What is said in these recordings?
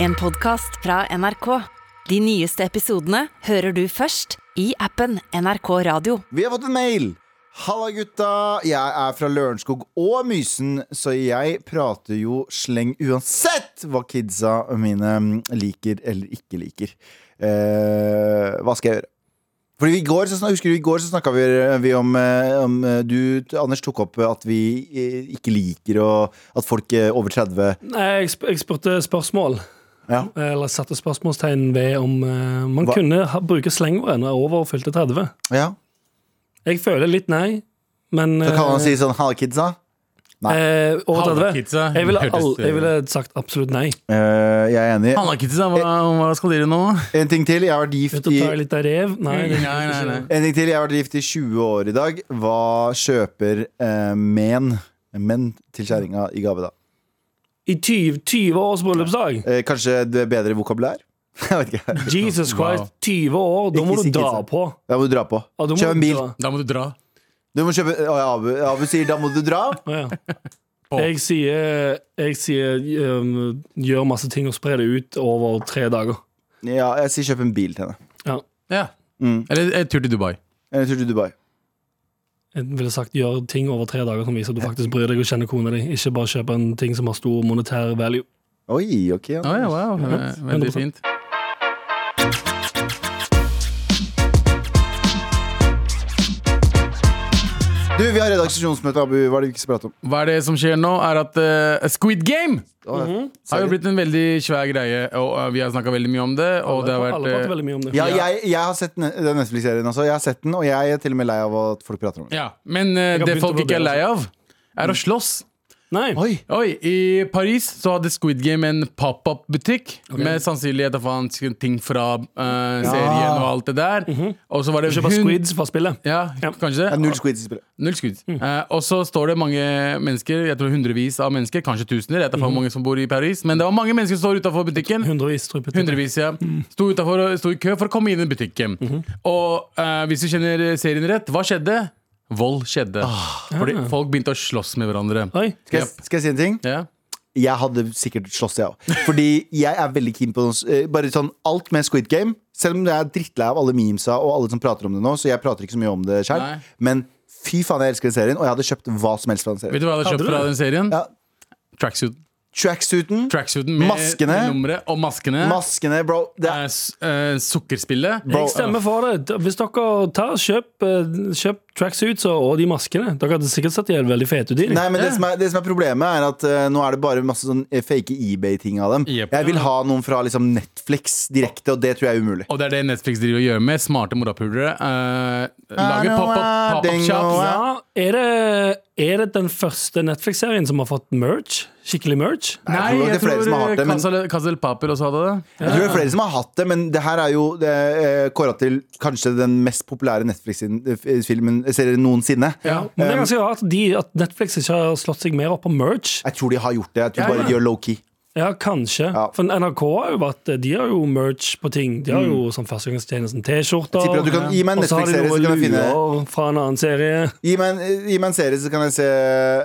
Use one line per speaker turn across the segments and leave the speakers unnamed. En podcast fra NRK. De nyeste episodene hører du først i appen NRK Radio.
Vi har fått en mail. Halla, gutta. Jeg er fra Lørenskog og Mysen, så jeg prater jo sleng uansett hva kidsa mine liker eller ikke liker. Eh, hva skal jeg gjøre? Fordi vi i går, så snak, Husker du i går så snakka vi, vi om, eh, om eh, Du, Anders, tok opp at vi eh, ikke liker og at folk eh, over 30
Nei, jeg, sp jeg spurte spørsmål,
ja.
eller satte spørsmålstegn ved om eh, man
Hva-
kunne ha, bruke slengordet når over fylte 30.
ja.
Jeg føler litt nei, men
Da kan man
eh,
si sånn Halla, kidsa.
eh, Over 30?
Hallakidsa.
Jeg ville, all,
Hørtes, eh,
jeg ville sagt absolutt nei.
Eh, jeg er enig.
Hallakidsa, hva, hva skal dere nå?
En ting til. Jeg har vært
Ut
gift
og
i
ta litt av rev? Nei. det-
Nei, nei, nei.
En ting til, jeg har vært gift i 20 år i dag Hva kjøper eh, men Menn til kjæringa i gave da
I 20, 20 års bryllupsdag?
eh, Kanskje det er bedre vokabulær? Jeg vet ikke
Jesus Christ, 20 år, da
Ikke
må du
si
dra
kidsa.
på.
Da må du dra på
Ja, da må
Kjøp
du
en bil
dra.
Da må du dra.
Du må kjøpe Å, ja, Abu, Abu sier da må du dra
Å, ja. Jeg sier, jeg sier um, gjør masse ting og spre det ut over tre dager.
Ja, jeg sier kjøp en bil til henne
Ja.
Ja. Eller en tur til Dubai.
Jeg tror til Dubai
Jeg ville sagt gjør ting over tre dager som viser at du faktisk bryr deg og kjenner kona di. Ikke bare kjøpe en ting som har stor monetær value.
Oi, ok ja.
Å ja, wow. Eh,
100%.
Veldig fint.
Du, vi har redaksjonsmøte, Abu Hva er det vi ikke skal prate om?
Hva er det som skjer nå, er at eh, Squid Game
Å, ja.
har jo blitt en veldig svær greie, og eh, vi har snakka veldig mye om det. Og det har
Alle prater
vært eh,
veldig mye om det.
ja, jeg, jeg har sett ne- den Netflix-serien også Jeg har sett den, og jeg er til og med lei av at folk prater om den
Ja, Men eh,
Jeg har
det
begynt
folk
å
ikke er
vurdere Mm.
lei av, er å slåss.
Nei.
Oi,
Oi, I Paris så hadde Squid Game en pop-up-butikk med sannsynlighet av faen ting fra eh, serien og alt det der. Og så var det
Kjøpe
hun-
Mhm. squids fra spillet.
Ja,
Ja.
kanskje
det er
det.
null squids i spillet
Null skudd.
Mm.
Eh, og så står det mange mennesker, jeg tror hundrevis av mennesker, kanskje tusener, jeg vet ikke
Mm.
hvor mange som bor i Paris, men det var mange mennesker som står utafor butikken.
Hundrevis. tror jeg.
Hundrevis, ja.
Mm.
Sto utenfor og sto i kø for å komme inn i butikken.
Mm-hmm.
Og eh, hvis du kjenner serien rett, hva skjedde? Vold skjedde. Fordi folk begynte å slåss med hverandre.
Ah. Oi.
Skal jeg, skal jeg si en ting?
Ja.
Jeg hadde sikkert slåss, jeg òg. Fordi jeg er veldig keen på noe s- eh, Bare sånn alt med Squid Game. Selv om jeg er drittlei av alle memesa og alle som prater om det nå, så jeg prater ikke så mye om det
Nei.
selv Men fy faen, jeg elsker den serien, og jeg hadde kjøpt hva som helst fra den
Vet
serien.
du hva jeg hadde
Hadde
kjøpt
du
fra
det?
den serien?
Ja.
Tracksuit.
Tracksuiten,
Tracksuiten med,
Maskene.
med nummeret og maskene.
maskene, bro. Det
Eh,
er,
s- eh, sukkerspillet.
bro.
Jeg stemmer for det. Hvis dere tar, kjøp, eh, kjøp tracksuits og og de maskene. Dere hadde sikkert sett de helt veldig fete ut i.
Nei, men det som, er, det som er problemet, er at eh, nå er det bare masse sånn eh, fake eBay-ting av dem.
Jep.
Jeg vil ha noen fra liksom Netflix direkte, og det tror jeg er umulig.
Og det er det Netflix driver og gjør med. Smarte morapulere. Uh, lager
know
pop-up
a
pop
dingo
shops.
Ja, er det, er det den første Netflix-serien som har fått merch? Skikkelig merch?
tror
Nei,
nok det
jeg
er flere
tror
som har hatt det, men-
Casa del- Casa del Papel også hadde det.
Jeg tror det er flere som har hatt det, men det her er jo eh, kåra til kanskje den mest populære Netflix-filmen serien noensinne.
Ja.
Um,
Men det er ganske rart de, at Netflix ikke har slått seg mer opp på merch.
Jeg tror de har gjort det. Jeg tror
Ja,
bare
ja.
de gjør low-key.
Ja, kanskje.
Ja.
For NRK har jo vært De har jo merch på ting. De har jo sånn førstegangstjenesten T-skjorter.
Mm. Tipper at du kan gi meg en
Og så har de
Netflix-serie,
noe
så kan jeg finne
luer fra en annen serie.
Gi meg en, gi meg en serie, så kan jeg se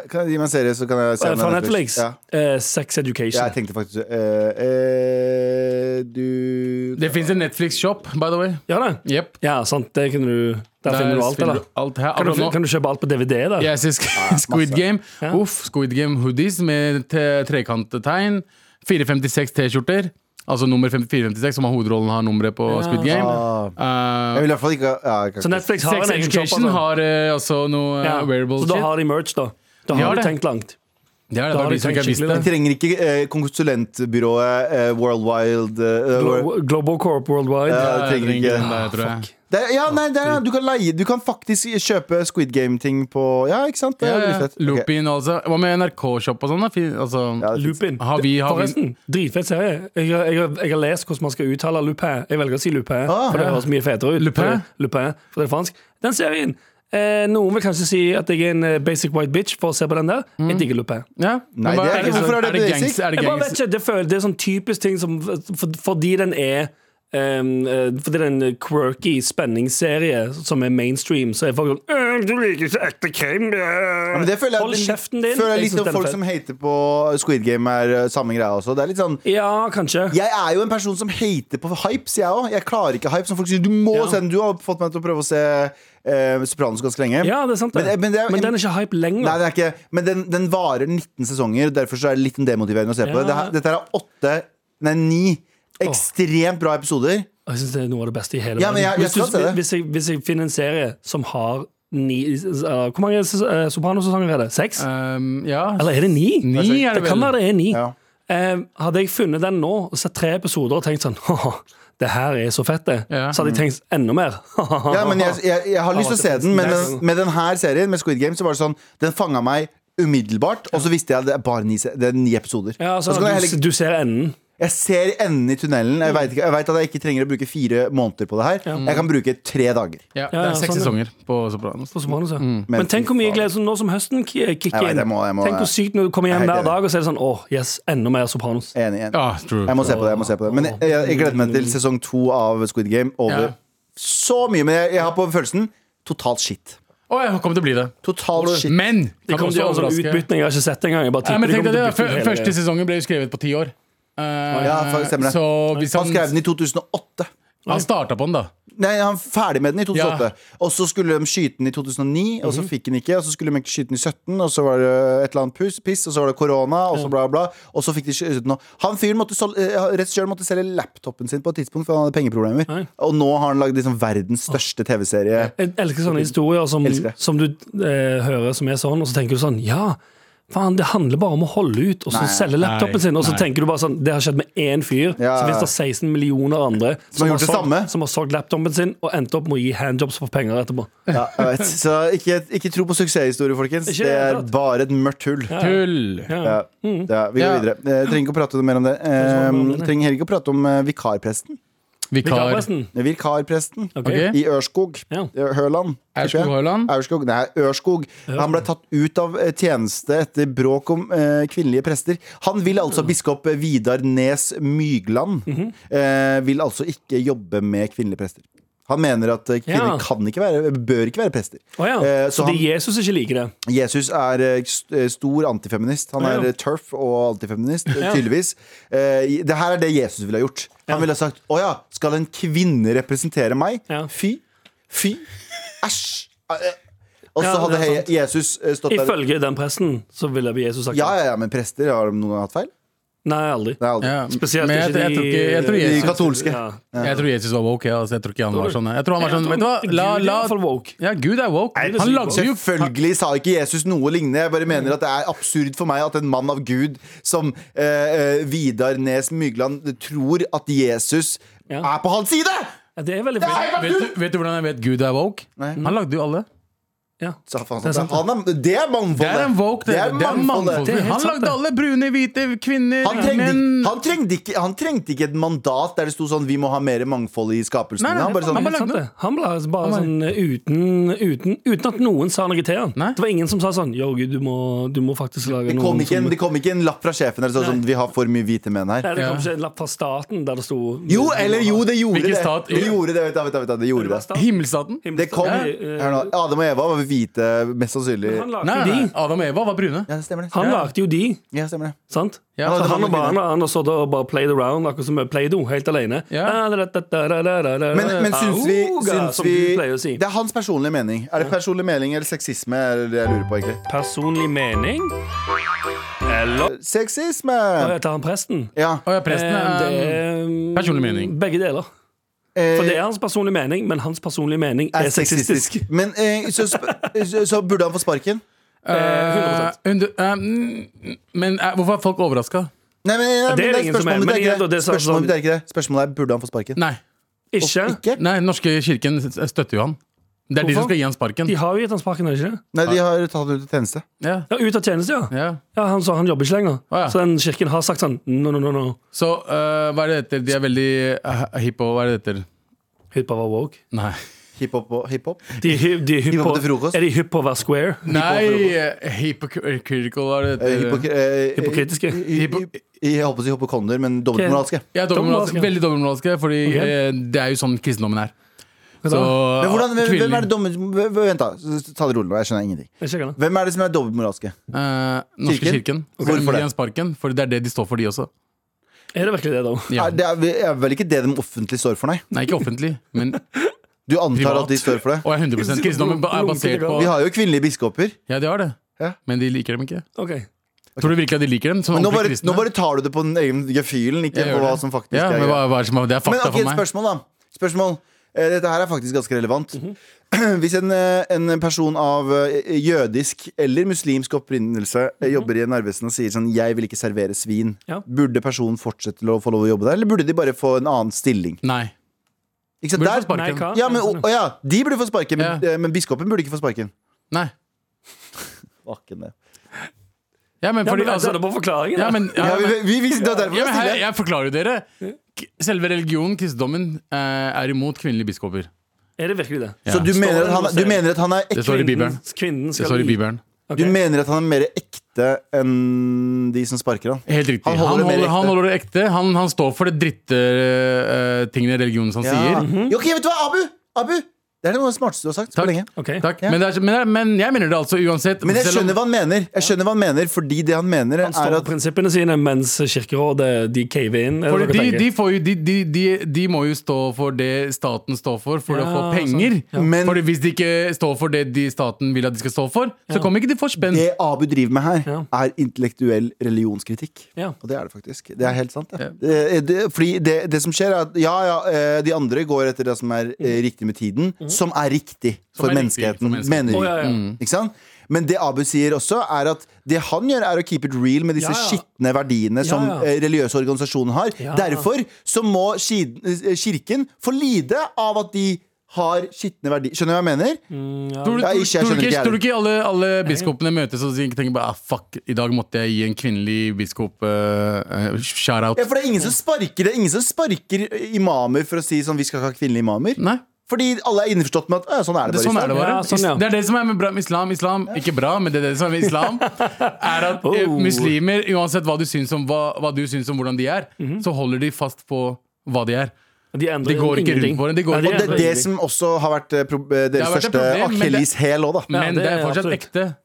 kan, Gi meg en serie, så kan jeg se
Eh,
om det
Fra
er
Netflix.
Ja.
Eh, Sex
Ja,
Education.
jeg tenkte faktisk eh, eh, Du
Det fins en Netflix-shop, by the way.
Ja, det.
Yep.
ja, sant. Det kunne du, der, finner du alt,
spiller
eller?
du alt her.
Kan Ah, du,
Akkurat nå-
fin- kan du kjøpe alt på DVD, da?
Jeg ser sk Squid Game. Uff, Squid Game hoodies med te- trekantetegn. 456 T-skjorter. Altså nummer 5456, som har hovedrollen har nummeret på Squid Game.
Ah. Jeg vil
Uh,
i hvert fall ikke ha- ja, jeg kan
Så
ikke-
Netflix har
Sex
en egen shop.
Education
altså.
har eh, også noe eh,
Ja.
wearable
Så da
shit.
har de merch, da. Da
har
har de
det.
tenkt langt.
Det er det,
da
bare
har de
vi som
tenkt
ikke har visst
skikkelig
det.
Jeg trenger ikke eh, konsulentbyrået eh, Worldwide eh,
Glo- Global Corp Worldwide.
Ja.
Jeg
trenger ikke-
den der, tror jeg.
der, Ja, nei, der, ja, du kan leie Du kan faktisk kjøpe Squid Game-ting på Ja, ikke sant? Det
Ja,
er
ja.
litt fett. Ok.
Lupin altså. Hva med NRK-shop og sånn? da? Fin- Altså,
Ja, det
Lupin.
Har vi- har vi-
Forresten, dritfett serie. Jeg, har- jeg, har- jeg har lest hvordan man skal uttale Lupin. Jeg velger å si Lupin,
Ah,
for det
ja.
høres mye fetere ut.
Lupin?
Lupin, for det er fransk. Den serien. Eh, noen vil kanskje si at jeg er en eh, basic white bitch for å se på den der. Jeg digger Lupin.
ja.
Nei,
Men hva-
det er-
så-
hvorfor er det basic?
gangs- Mm. Er det
Jeg bare vet
gangs?
ikke, det, føler, det er sånn typisk ting som for, Fordi den er ehm, eh, For det er en quirky spenningsserie som er mainstream, så er folk sånn «Øh, Du liker ikke ekte krim.
Ja, men det føler jeg,
Hold kjeften din.
Føler jeg
Jeg
litt
synes
om
den er
folk
fet.
som hater på Squid Game, er eh, samme greia også. Det er litt sånn
Ja, kanskje.
jeg er jo en person som hater på hypes, jeg òg. Jeg klarer ikke hype. Som folk sier, du må
Ja.
se den. Du har fått meg til å prøve å se eh, Sopranos ganske lenge.
Ja, det er sant, det.
Men- men det er-
den er ikke hype lenger.
Nei, det er ikke Men den, den varer 19 sesonger, derfor så er det litt demotiverende å se på det.
Ja.
Dette- Dette er åtte Nei, ni ekstremt bra episoder.
Jeg synes det er noe av det beste i hele
Ja, men jeg- jeg
verden. Hvis,
skal se
du,
det.
hvis, jeg, hvis jeg finner en serie som har ni eller, Hvor mange ses- eh, Sopranos-sesonger er det? Seks?
Ehm, ja.
Eller er det ni?
Ni er det
det kan
vel.
være det er ni.
Ja.
Eh, hadde jeg funnet den nå og sett tre episoder og tenkt sånn «Haha, det her er så fett, det,
Ja.
så hadde jeg tenkt enda mer.
Ja, men jeg, jeg, jeg har lyst til å se den, men med, med denne serien, med Squid Game, så var det sånn Den fanga meg umiddelbart, og så visste jeg at det er bare ni, se- det er ni episoder.
Ja,
Og
altså,
så kan jeg heller
du, du ser enden.
Jeg ser enden i tunnelen. Jeg vet, ikke, jeg vet at jeg ikke trenger å bruke fire måneder på det her. Jeg kan bruke tre dager.
ja, det
Ja, ja,
er seks
sånn, ja.
sesonger på Sopranos.
på Sopranos, ja.
Men
Men,
Mm. fy
tenk hvor mye
faen.
glede som nå som høsten ki- kicker
vet,
inn.
jeg må- jeg må-
Tenk hvor sykt når du kommer hjem
Jeg er helt
hver dag og så er det sånn åh, yes, enda mer Sopranos.
Enig, enig.
Ja, true. Mm.
Jeg må se på det. jeg må se på det Men jeg, jeg, jeg gleder meg til sesong to av Squid Game. Over
Ja.
så mye. Men jeg, jeg har på følelsen totalt shit.
Å, jeg kommer til å bli det.
Totalt shit.
Men!
Det
kan
kommer til å
også
være sånn
overraske.
utbytning jeg har ikke sett engang. Jeg bare
Ja,
tipper
men
de
tenk
kommer til å
deg det, da.
bytte ut
Fø-
hele-
Første sesongen ble jo skrevet på ti år. Eh,
Ja, faktisk stemmer det.
Så hvis
Han
han,
skrev
han,
den i 2008.
starta på den, da.
Nei, han ferdig med den i 2008. Og så skulle de skyte den i 2009, og
Mhm.
så fikk den ikke. Og så skulle de ikke skyte den i 17, og så var det et eller annet pus, piss, og så var det korona, og så bla, bla. Og så fikk de skyte den nå. Han fyren måtte, sol- eh, regissøren måtte selge laptopen sin på et tidspunkt, for han hadde pengeproblemer.
Nei.
Og nå har han lagd liksom verdens største TV-serie.
Jeg elsker sånne historier som,
Elsker det.
som du eh, hører som er sånn, og så tenker du sånn Ja, faen, det handler bare om å holde ut, og så
Nei,
selge laptopen
nei,
sin. Og så
nei.
tenker du bare sånn Det har skjedd med én fyr.
Ja,
så
ja.
finnes det 16 millioner andre
Som har gjort det samme.
solgt, som har solgt laptopen sin og endt opp med å gi handjobs for penger etterpå.
Ja, jeg vet. Så ikke, ikke tro på suksesshistorie, folkens.
Ikke i
Det
det
er
hele tatt.
bare et mørkt hull. Ja.
Tull!
Ja. Mm.
vi går
Ja.
videre. Eh, trenger ikke å prate mer om det. Eh, trenger heller ikke å prate om eh, vikarpresten.
Vikar.
Vikarpresten.
Vikarpresten
Ok.
i Ørskog.
Ja.
Høland. tipper
Aurskog
jeg.
Høland?
Aurskog, nei, Ørskog. Han ble tatt ut av eh, tjeneste etter bråk om eh, kvinnelige prester. Han vil altså biskop Vidar Nes Mygland.
Mhm.
eh, vil altså ikke jobbe med kvinnelige prester. Han mener at eh, kvinner
Ja.
kan ikke være, bør ikke være prester.
Å ja.
Eh,
så
så han,
Fordi Jesus ikke liker det.
Jesus er eh, st- eh, stor antifeminist. Han er
Ja.
eh, turf og antifeminist, eh, tydeligvis. Eh, i- Det her er det Jesus ville ha gjort. Han ville ha sagt å ja, skal en kvinne representere meg?
Ja.
Fy. Fy. Æsj. Eh, eh. Og så
Ja,
hadde
det er
he- Jesus eh, stått der.
Ifølge den presten så ville Jesus sagt
Ja,
det.
ja, ja, men prester, har de noen hatt feil?
Nei, aldri.
Nei, aldri.
Ja,
Spesielt
men jeg,
ikke de-
jeg, tror ikke, jeg, tror
De
Jesus,
katolske.
Ja.
jeg tror Jesus var woke. Ja, altså, jeg tror ikke han var sånn. Jeg tror han var sånn, vet du hva, la,
Gud er i hvert fall
la
woke.
Ja, Gud er woke.
det er
Han
sykt
lagde jo
Selvfølgelig sa ikke Jesus noe lignende. Jeg bare mener at det er absurd for meg at en mann av Gud som eh, eh, Vidar Nes Mygland tror at Jesus
Ja.
er på hans side!
Ja, Det er veldig fint.
vet du, vet du hvordan jeg vet Gud er woke?
Nei.
Han lagde jo alle.
Mm. Ja.
Så faen,
Det er sant,
han er, det er mangfoldet.
Det er en woke. Det, det er mangfold.
Det er helt
Han
sant,
lagde
det.
alle brune, hvite, kvinner,
Han trengte,
menn.
ikke- han, trengte ikke, han trengte ikke et mandat der det sto sånn 'vi må ha mer mangfold i skapelsen'.
Nei, nei,
han bare sånn,
han bare-
Helt sant
lagde
det. Han ble altså bare
Han
sånn eh, uten, uten, uten at noen sa noe til han.
Nei.
Det var ingen som sa sånn Yo, Gud, du må, du må faktisk lage
det, kom
noen
ikke en, det kom ikke en lapp fra sjefen der det stod sånn 'vi har for mye hvite menn
Nei,
her'.
det kom
Ja.
ikke en lapp fra staten der det sto
Jo, eller jo, det gjorde
Hvilken
det.
stat?
Det gjorde det, vet du, vet du, vet du, det gjorde det.
Himmelstaten.
Det kom
Ja,
hør nå, Adam og Eva var hvite, mest sannsynlig.
Han
Nei,
lagde
nei,
jo
nei.
de.
Adam og Eva var brune.
Ja, det stemmer det.
Han lagde jo de,
Ja, det stemmer det.
sant?
Ja,
så
det var
han og
nok
barna han har stått og bare played around, akkurat som med Play-Doh, helt alene.
Ja.
Men,
Men,
men syns vi, syns
Som
vi
du pleier å si.
Det er hans personlige mening. Er det personlig mening eller sexisme? Er det jeg lurer på egentlig
Personlig mening? Eller
Sexisme!
Å, jeg tar han presten?
Ja.
Å ja, presten
Eh,
er
det er, mm,
personlig mening.
Begge deler.
eh,
For det er hans personlige mening, men hans personlige mening er, sexistisk.
Men eh, så, sp- så- så burde han få sparken?
eh,
100%.
hun- eh, mm, Men eh, hvorfor er folk overraska?
Nei, men, nei,
det er
men
det ingen som er,
spørsmålet
men
mitt er
igjen,
ikke
da, det
det.
er sånn-
Spørsmålet mitt er ikke det. Spørsmålet er burde han få sparken.
Nei.
Ikke?
Ikke?
Nei, Den norske kirken s- støtter jo han. Det er de som
Hvorfor?
skal gi han sparken.
De har jo gitt han sparken, er det ikke? det?
Nei, de har tatt han ut i tjeneste.
Ja,
Ja, Ut av tjeneste, ja.
ja.
ja han, så han jobber ikke lenger.
Å, ja.
Så den kirken har sagt sånn no, no, no, no.
Så eh, hva er det etter? De er veldig uh, hippo. Hva er det etter?
Hypa var woke.
Nei.
Hiphop og hiphop?
De, er hy- de er hypp
Hiphop
på,
til frokost.
er de hypp på å være square?
Nei, hypocritical var det
Eh,
heter.
hypokri- eh,
Hypokritiske?
hy- hy- Jeg holdt på å si hypokonder, men dobbeltmoralske.
Ja, dobbeltmoralske.
Dobbeltmoralske.
Veldig dobbeltmoralske, fordi
Ok.
eh, det er jo sånn kristendommen er. Så,
Men hvordan, hvem, hvem
kvinner-
er det dobbelt... Vent, da. Ta det rolig nå. Jeg skjønner ingenting.
Jeg sjekker det.
Hvem er det som er dobbeltmoralske?
Eh, norske
Kirken?
kirken.
Ok. Hvorfor det?
Jens Parken, for det er det de står for, de også.
Er det virkelig det, da?
Ja.
Er Det er, er vel ikke det de offentlig står for, nei?
Nei, ikke offentlig, men
Du antar
Privat.
at de står for det?
Og jeg er 100 Kristendommen ba- er basert på
Vi har jo kvinnelige biskoper.
Ja, de har det.
Ja.
Men de liker dem ikke.
Ok.
Tror du virkelig at de liker dem? Sånn
Men nå
ordentlig
bare,
kristne?
nå bare tar du det på den egen gefühlen, ikke
Jeg
på
gjør
hva
det.
som faktisk
ja,
er
men
greia.
hva, hva er det som er Det er
Men
fakta
ok,
for
et
meg.
spørsmål, da. Spørsmål. Eh, Dette her er faktisk ganske relevant. Hvis en, eh, en person av eh, jødisk eller muslimsk opprinnelse eh,
Mhm.
jobber i en arbeidsplass og sier sånn 'jeg vil ikke servere svin',
Ja.
burde personen fortsette til å få lov å jobbe der, eller burde de bare få en annen stilling?
Nei.
Ikke sant?
Burde få
Der,
Nei,
sparken.
hva?
ja, men, å, å ja, de burde få sparken, men,
Ja.
eh, men biskopen burde ikke få sparken.
Nei.
Vakken det.
Ja, men
Ja,
fordi
men altså,
altså,
det er bare forklaringen.
ja,
da.
men, ja,
Ja, vi,
men,
vi, vi, det var derfor
ja,
jeg
men her,
stiller.
Jeg forklarer jo dere. K- Selve religionen, kristendommen, eh, er imot kvinnelige biskoper.
Er det virkelig det?
Så du
Står
mener at
det
han,
noe
du
sted?
mener at han er
Det
ekte?
står i Bibelen.
Kvinnen- Kvinnen
Det
skal
står i Bibelen.
Ok.
Du mener at han er mer ekte enn de som sparker han?
Helt riktig.
Han
Han
holder
holder,
det mer ekte.
han holder det ekte. Han, han står for det drittetingene tingene religionen hans
Ja.
sier. Mhm.
Jo, ok, vet du hva, Abu! Abu! Det er noe av det smarteste du har sagt på
Takk.
lenge.
Ok.
Takk. Men, det er, men, det er, men jeg mener det altså uansett.
Men jeg
selv om-
skjønner hva han mener, Jeg skjønner hva han mener fordi det han mener,
Han
er
står på
at
prinsippene sine, mens Kirkerådet de caver inn. er det
Fordi
dere
de,
tenker?
de, får jo, de, de, de, de må jo stå for det staten står for, for
Ja,
å få penger.
sant. Ja.
Men-
Fordi Hvis de ikke står for det de staten vil at de skal stå for, så kommer ikke de for spenn.
det Abu driver med her,
Ja.
er intellektuell religionskritikk.
Ja.
Og det er det faktisk. Det er helt sant, det. Eh, det fordi det, det som skjer, er at ja, ja, eh, de andre går etter det som er eh,
Mm.
riktig med tiden, som er riktig
Som
for
er riktig
menneskeheten,
for menneskeheten.
mener vi.
Å,
Mm.
ja, ja.
Ikke sant? Men det Abu sier også, er at det han gjør, er å keep it real med disse
Ja, ja.
skitne verdiene som
ja.
eh, religiøse organisasjoner har.
Ja.
Derfor så må skid- eh, kirken få lide av at de har skitne verdier. Skjønner du hva jeg mener?
Mm.
Tror du,
Ja,
tror,
ikke, jeg
tror, du
skjønner
ikke,
ikke
tror du ikke alle, alle biskopene møtes og tenker bare, ah, fuck, i dag måtte jeg gi en kvinnelig biskop uh, shout-out?
Ja, for det er ingen som sparker Det er ingen som sparker imamer for å si sånn vi skal ikke ha kvinnelige imamer.
Nei.
Fordi alle er innforstått med at «Å, sånn er det
Det,
bare.
sånn
i
er det
islam».
bare.
Ja, sånn, ja.
Det er det som er med bra med islam. Islam, Ikke bra, men det er det som er med islam. Er at eh,
Oh.
muslimer, uansett hva du syns om, hva, hva du syns om hvordan de er,
Mhm.
så holder de fast på hva de er.
De, endrer
De går ikke
ingenting.
rundt på det, de går-
Nei,
Og
Og
det
endrer
er det
ingenting.
som også har vært eh, pro eh,
Det
deres
har vært et
største
problem, men det-
akilleshæl òg, da.
Men
Ja, det
det
er
er fortsatt
absolutt.
ekte.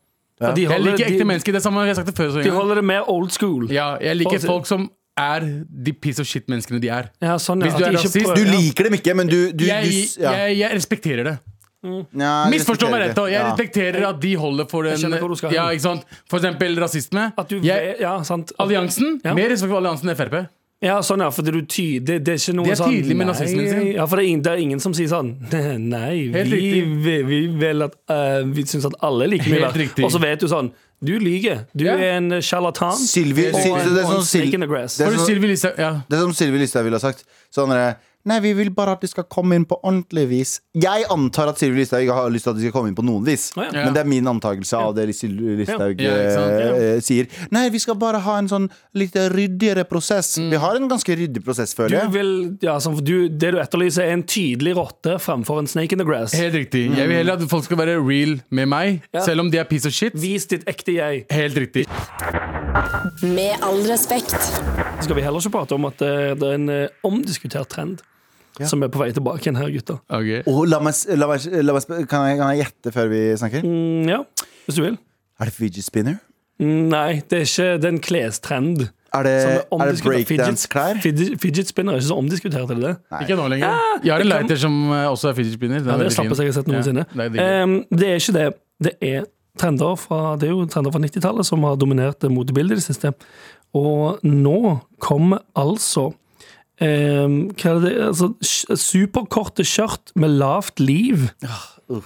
Ja, de
Jeg
holder-
liker ekte
de-
mennesker. Det samme har jeg sagt det før. Så
De
jeg.
holder det med old school.
Ja, jeg liker
Folk-
folk som er de piece of shit-menneskene de er.
Ja, sånn, ja.
Hvis
At
du
de
er
ikke
rasist,
prøver-
Du
ja.
liker dem ikke, men du, du,
Jeg,
du s- ja.
jeg, jeg respekterer det.
Nja, jeg
Misforstå meg
respekterer
rett. da. Jeg
det. Ja.
respekterer at de holder for
Jeg
den
skjønner hvor du skal hen.
ja, ikke sant? For eksempel rasisme.
At du
Jeg,
ve- ja, sant.
alliansen.
Ja.
Mer respekt for alliansen enn Frp.
Ja, sånn ja, fordi du ty, det, det er ikke noe
De er
sånn
tydelige med
nei,
nazismen sin.
Ja, for det er, ingen, det er ingen som sier sånn Nei,
Helt
vi,
riktig.
vi, vi vil at eh, Vi syns at alle er like mye
Helt
verdt.
riktig.
Og så vet du sånn Du lyger. Du
Ja.
er en sjarlatan.
Sylvi
Og
Syl-
en-
det er
og en
sånn Syl-
snake in the grass.
det er
For
sånn-
Sylvi Listhaug ja.
Det er som Sylvi Listhaug ville ha sagt. Sånn derre Nei, vi vil bare at de skal komme inn på ordentlig vis. Jeg antar at Sylvi Listhaug ikke har lyst til at de skal komme inn på noen vis.
Å, ja.
Men det er min antakelse av det Sylvi Listhaug
Ja, ikke sant? Ja.
eh, sier. Nei, vi skal bare ha en sånn litt ryddigere prosess. Vi har en ganske ryddig prosess,
Du
føler jeg.
vil, ja, sånn, for du, det du etterlyser, er en tydelig rotte fremfor en snake in the grass.
Helt riktig. Jeg vil heller at folk skal være real med meg,
Ja.
selv om de er piece of shit.
Vis ditt ekte jeg.
Helt riktig.
Med all respekt.
Så skal vi heller ikke prate om at det, det er en eh, omdiskutert trend som er på vei tilbake igjen her, gutter.
Ok.
Og la meg, s- la meg, s- la meg, sp- kan, jeg, kan jeg gjette før vi snakker?
Mm, ja, hvis du vil.
Er det fidget spinner?
Mm, nei, det er ikke det er en klestrend.
Eh, Er det,
Som er
er det
omdiskutert.
breakdance-klær?
Fidget, fidget spinner er ikke så omdiskutert, er det det?
Ikke nå lenger. Jeg har en lighter som eh, også er fidget spinner. Den
Ah, Ja,
er
det er
veldig fin.
slappest jeg har sett noensinne.
Ja, det er digg.
Ehm, det er ikke det. Det er trender fra, det er jo trender fra 90-tallet som har dominert eh, motebildet i det siste. Og nå kommer altså ehm, hva er det, altså, sj- superkorte skjørt med lavt liv.
Ah, uh.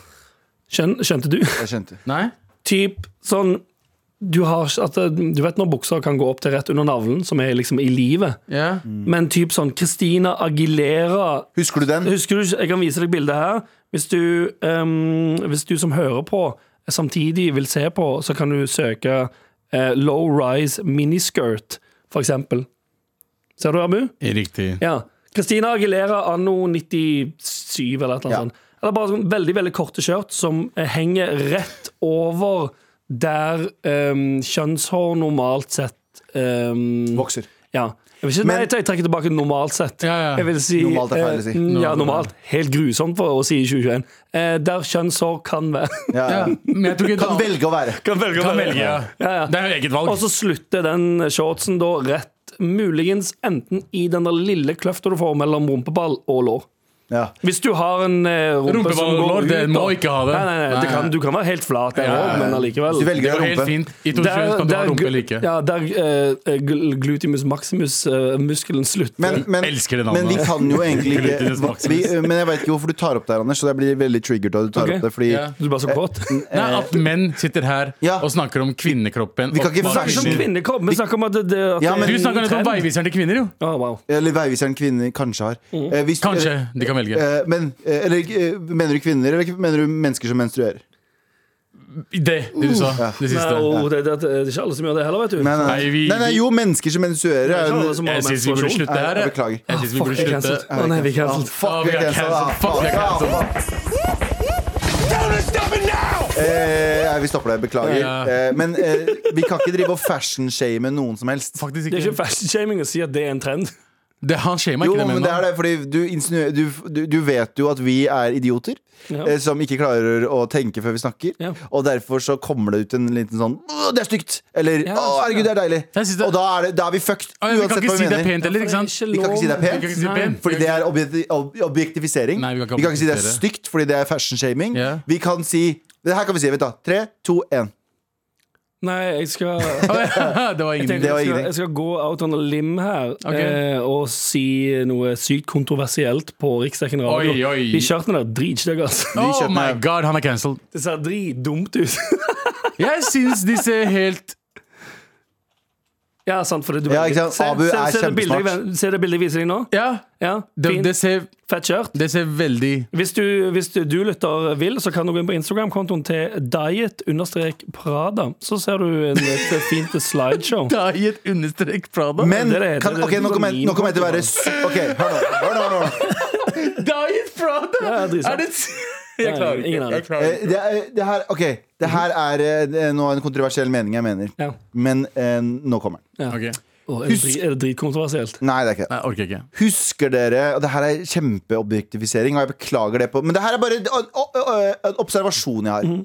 Skjøn, skjønte du?
Jeg skjønte.
Nei?
typ sånn du, har, ikke- at, eh, du vet når bukser kan gå opp til rett under navlen, som er liksom i livet.
Ja.
Mm.
Men typ sånn Christina Aguilera
Husker du den?
Husker du, Jeg kan vise deg bildet her. Hvis du, ehm, hvis du som hører på, samtidig vil se på, så kan du søke eh, low rise miniskirt, for eksempel. Ser du, Abu?
Riktig.
Ja. Christina Aguilera anno 97 eller et eller annet
Ja.
sånt. Eller bare sånn veldig veldig korte skjørt som eh, henger rett over der um, kjønnshår normalt sett ehm,
Vokser.
Ja. Jeg, vil ikke,
Men-
nei, jeg trekker tilbake normalt sett.
Ja, ja.
Jeg vil si,
Normalt er feil å si.
eh, mm, Ja, normalt. Helt grusomt for å si i 2021. Eh, der kjønnshår kan være.
Ja, ja.
Men jeg tror ikke
Kan velge å være.
Kan velge å
Kan
være.
velge, ja.
Ja, ja.
Det er jo eget valg.
Og så slutter den shortsen da rett muligens enten i den der lille kløfta du får mellom rumpeball og lår.
Ja.
Hvis du har en eh, rumpe som
Rumpeball og
går
lår,
ut
det
da-
må ikke ha det.
Nei, nei, nei, det
Nei.
kan, Du kan være helt flat, der
Ja,
også,
ja, ja.
men allikevel.
Hvis du velger
Det går helt
rumpe.
fint. I 2021 kan du ha rumpe eller ikke.
ja, der eh, gl- glutimus maximus-muskelen slutter.
Men, men,
Elsker det navnet.
men vi kan jo egentlig
Glutinous
ikke
maximus.
vi, Men jeg veit ikke hvorfor du tar opp det, her, Anders. Så jeg blir veldig triggered av at du tar
Ok.
opp det. Fordi
Ja.
du er bare så kåt.
Eh,
Nei,
Eh.
at menn sitter her
Ja.
og snakker om kvinnekroppen.
Vi kan
og
ikke
hva
være
Som
men-
kvinner-
kvinnekopp. Vi snakker om at det, det, at
Ja, men-
Du
det er
snakker litt om
trend.
veiviseren til kvinner, jo.
Å, wow.
Eller veiviseren kvinner kanskje har. Eh, hvis-
Mm. Kanskje de kan velge.
eh, Men, eh, eller, eh, mener du kvinner, eller mener du mennesker som menstruerer?
Det, det du sa. Det
Nei,
siste.
og det, det, det er ikke alle som gjør det heller, vet du.
Nei, nei,
Nei, vi-
nei, nei,
vi-
jo, mennesker som menstruerer.
Det er ikke alle
Er,
som har
Jeg syns vi burde
menstruasjon.
slutte
Nei,
her.
jeg
jeg.
beklager.
Jeg synes vi
Fuck,
burde
jeg er
slutte.
cancelled. Å nei, vi er
Ah,
cancelled.
fuck,
Ah,
vi
vi
er
er
cancelled. Ah,
cancelled. Fuck, vi er
fuck.
cancelled.
Eh, nei, vi stopper det. Beklager.
Ja.
Eh, men eh, vi kan ikke drive og fashion-shame noen som helst.
Faktisk
Det er
ikke.
ikke fashion-shaming å si at det er en trend.
Det, han skjema
Jo,
ikke det
men
med
det er det, fordi du, insinuerer- du, du, du vet jo at vi er idioter
Ja.
eh, som ikke klarer å tenke før vi snakker.
Ja.
Og derfor så kommer det ut en liten sånn Åh, det er stygt! Eller
Ja,
Å, herregud, det er deilig!
altså, Jeg synes det-
Og da er, det, da er vi fucked,
Å, ja, Vi kan
uansett
ikke
hva
si
vi
det er
mener.
pent heller, ikke sant?
Vi kan ikke si det er
Vi kan
pent.
ikke si det er
Nei.
pent.
Fordi det er objekti ob objektifisering.
Nei, vi kan ikke
si det er
objektifisere.
stygt, fordi det er fashion-shaming.
Ja.
Vi kan si Det her kan vi si. Vent, da. Tre, to, én.
Nei, jeg skal
Å, ja, Det var
jeg,
ingen
tenker,
Det var
jeg, skal,
ingenting.
jeg skal gå out on a lim her
Ok.
eh, og si noe sykt kontroversielt på riksdekken radio.
Oi, oi.
De shirtene der, dritstygge, altså.
Oh
kjøpte
my
den.
god, han er cancelled.
Det ser dritdumt ut.
Jeg syns de ser helt
ja, sant, for det du
Ja, ikke sant?
Se,
Abu
se,
er
se, det bildet, jeg
kjempesmart.
ven- se det bildet jeg viser deg nå.
Ja,
Ja,
det,
fint.
det, ser,
Fett skjørt.
det ser veldig
Hvis du, hvis du, du lytter vil, så kan du gå inn på Instagram-kontoen til diet-prada. Så ser du en, et fint slideshow.
Det er i et understrek Prada.
Men
det er det-
kan,
det er
ok, nå
det-
sånn
det er
kommer jeg, nå
min
kommer jeg til å være
måte,
su- Ok, hør nå. Hør nå, hør nå.
Diet Prada!
Ja, det er sant.
er det Jeg klarer ikke.
Ingen aner.
Jeg klarer ikke.
Eh, det, er- det her, ok, det her er eh, nå en kontroversiell mening jeg mener.
Ja.
Men eh, nå kommer den.
Ja.
Ok.
Å, er, det dri- er det dritkontroversielt?
Nei, det er ikke det.
Nei, jeg orker ikke.
Husker dere Og det her er kjempeobjektifisering, og jeg beklager det på Men det her er bare en, en, en observasjon jeg har.
Mhm.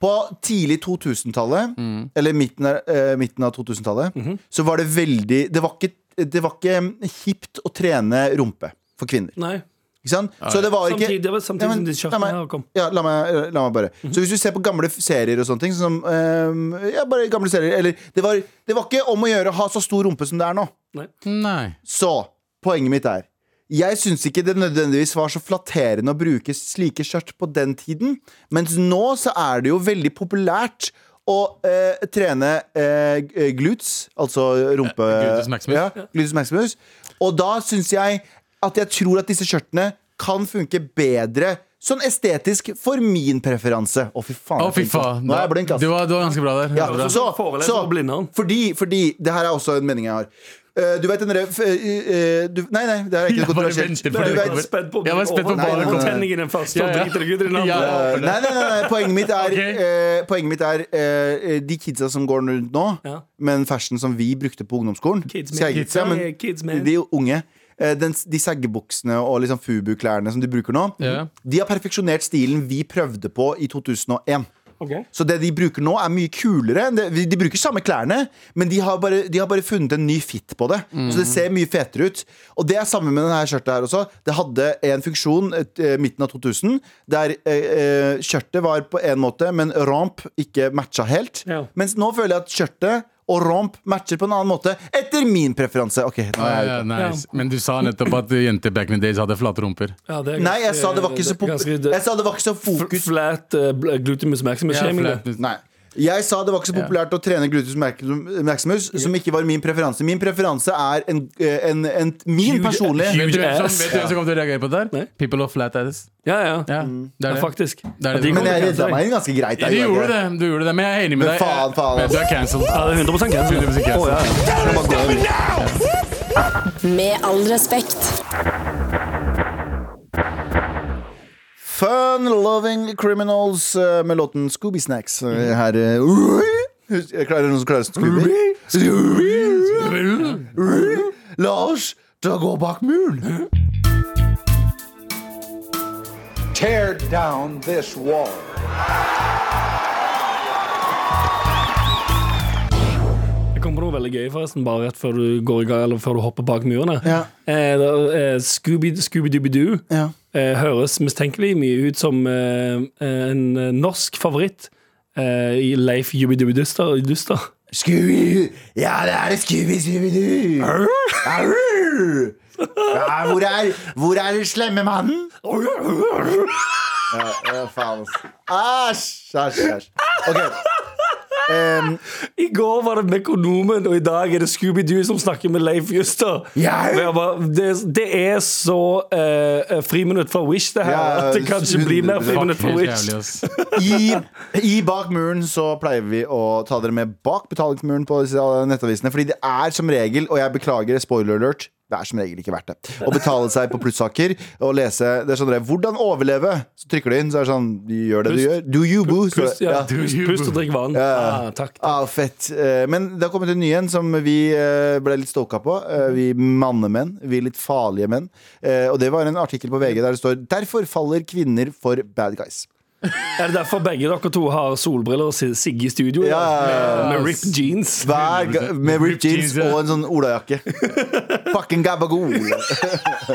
På tidlig 2000-tallet, eller midten av, eh, midten av 2000-tallet,
Mhm.
så var det veldig det var, ikke, det var ikke hipt å trene rumpe for kvinner.
Nei.
Ikke sant? Så det var ikke
Samtidig, det var samtidig
Ja, men
som
la
de shirtene
meg-
her kom. Mhm.
Ja, la meg, la meg bare. Så hvis du ser på gamle f- serier og sånne ting, sånn som eh, Ja, bare gamle serier. Eller det var, det var ikke om å gjøre å ha så stor rumpe som det er nå.
Nei.
Nei.
Så poenget mitt er jeg syns ikke det nødvendigvis var så flatterende å bruke slike skjørt på den tiden, mens nå så er det jo veldig populært å eh, trene eh, g- glutes, altså rumpe
gluteus maximus.
Ja, gluteus maximus. Og da syns jeg at jeg tror at disse skjørtene kan funke bedre sånn estetisk for min preferanse. Å, fy faen.
Å,
jeg
fy
tenkte-
faen.
Nå er jeg blink, ass.
Du var, du var ganske bra der.
Ja,
Bra.
så,
Foreleser
så,
for blinde.
fordi, fordi Det her er også en mening jeg har. Eh, du vet den derre f- eh, eh, du- Nei, nei, det her er ikke
Jeg
noe
bare
kontroversielt.
venter
Men
på det
du
kommer.
vet-
Jeg var spent på
Nei, nei, nei.
Tenning i den første, og
Ja, ja.
Sånn driter deg ut i den andre.
Ja, ja.
Eh, nei, nei, nei, nei, poenget mitt er,
Ok.
eh, poenget mitt er eh, de kidsa som går rundt nå,
Ja.
men fashion som vi brukte på ungdomsskolen
Kids,
Sier
man.
jeg kids, ja, men
Yeah, kids, man.
De unge. eh, den, de saggebuksene og liksom fubu-klærne som de bruker nå,
Ja.
de har perfeksjonert stilen vi prøvde på i 2001.
Ok.
Så det de bruker nå er mye kulere enn det. vi- De bruker samme klærne Men de har bare, de har bare funnet en ny fit på det Så det ser mye fetere ut Og det er samme med denne skjørtet her også Det hadde en funksjon et, eh, midten av 2000 Der eh, eh, skjørtet var på en måte Men ramp ikke matcha helt
Ja.
Mens nå føler jeg at skjørtet og ramp matcher på en annen måte Etter min preferanse Ok, nå er
Ja,
jeg
ja,
ute.
Eh, nice. Men du sa nettopp at jenter back in the days hadde flate rumper.
Ja, det er ganske-
Nei, jeg sa det var ikke så,
det er
pop-
ganske-
jeg sa det var ikke så fokus
F- Flat eh, bl- glutimus maximus
Ja,
shaming.
flat.
det.
Nei. Jeg sa det var ikke så populært å trene gluteus maximus, som ikke var min preferanse. Min preferanse er en, eh, en, en, min
Huge-
personlige
Vet du hvem som
ass.
vet du hvem som kommer til å reagere på det
Nei.
der? People of flat ass.
Mm.
Ja, ja.
Ja, det
Ja,
er det.
faktisk.
er
Ja,
det.
de
Men
kommer
jeg
til å
redda
cancele
meg ganske greit.
Du gjorde det, du gjorde det, men jeg er enig med
Men
deg.
faen, faen,
Men
ass.
Du er cancelled.
Ja, det er 100 cancel.
100% cancel.
Å, ja, ja.
Med all respekt.
Fun Loving Criminals eh, med låten Scooby Snacks.
Mm.
eh, Her eh, Husk- jeg klarer noen som klarer Scooby? Scooby. La oss da gå bak muren.
Tear down this wall.
Det kommer noe veldig gøy, forresten, bare rett før du går i gang, eller før du hopper bak murene.
Ja.
Eh, da, eh, Scooby- Scooby-Dooby-Doo
Ja.
eh, høres mistenkelig mye ut som eh, en eh, norsk favoritt eh, i Leif Jubidubbiduster. Duster.
Scooby! Ja, det er det Scooby Scooby Doo. Arr! Ja, hvor, er, hvor er den slemme mannen? Ja, ja, faen, ass. Æsj! Æsj, æsj. Ok. Em,
I går var det Mekonomen, og i dag er det Scooby-Doo som snakker med Leif Juster.
Ja.
Men jeg bare, Det, det er så eh, friminutt fra Wish, det her,
Ja,
at det kanskje blir mer
100%.
friminutt fra
Helt
Wish.
jævlig, ass.
I, I Bak muren så pleier vi å ta dere med bak betalingsmuren på disse nettavisene. Fordi det er som regel, og jeg beklager, spoiler alert, det er som regel ikke verdt det. Å betale seg på plussaker og lese det er sånn dere, 'Hvordan overleve?' Så trykker du inn, så er det sånn Du gjør det du
Pust.
gjør. Do you boo? står
Pust,
det.
ja.
Ja.
pust, pust og drikk vann.
Ja.
Ah, takk.
Ah, fett. Eh, Men det har kommet en ny en som vi eh, ble litt stoka på. Eh, Vi mannemenn. Vi litt farlige menn. Eh, Og det var en artikkel på VG der det står 'Derfor faller kvinner for bad guys'.
Er det derfor begge dere to har solbriller og si- Sigge i studio?
Ja, ja, ja.
Med, med rip jeans?
Hver ga- med ripped jeans
ja.
og en sånn olajakke. Fucking gabagool!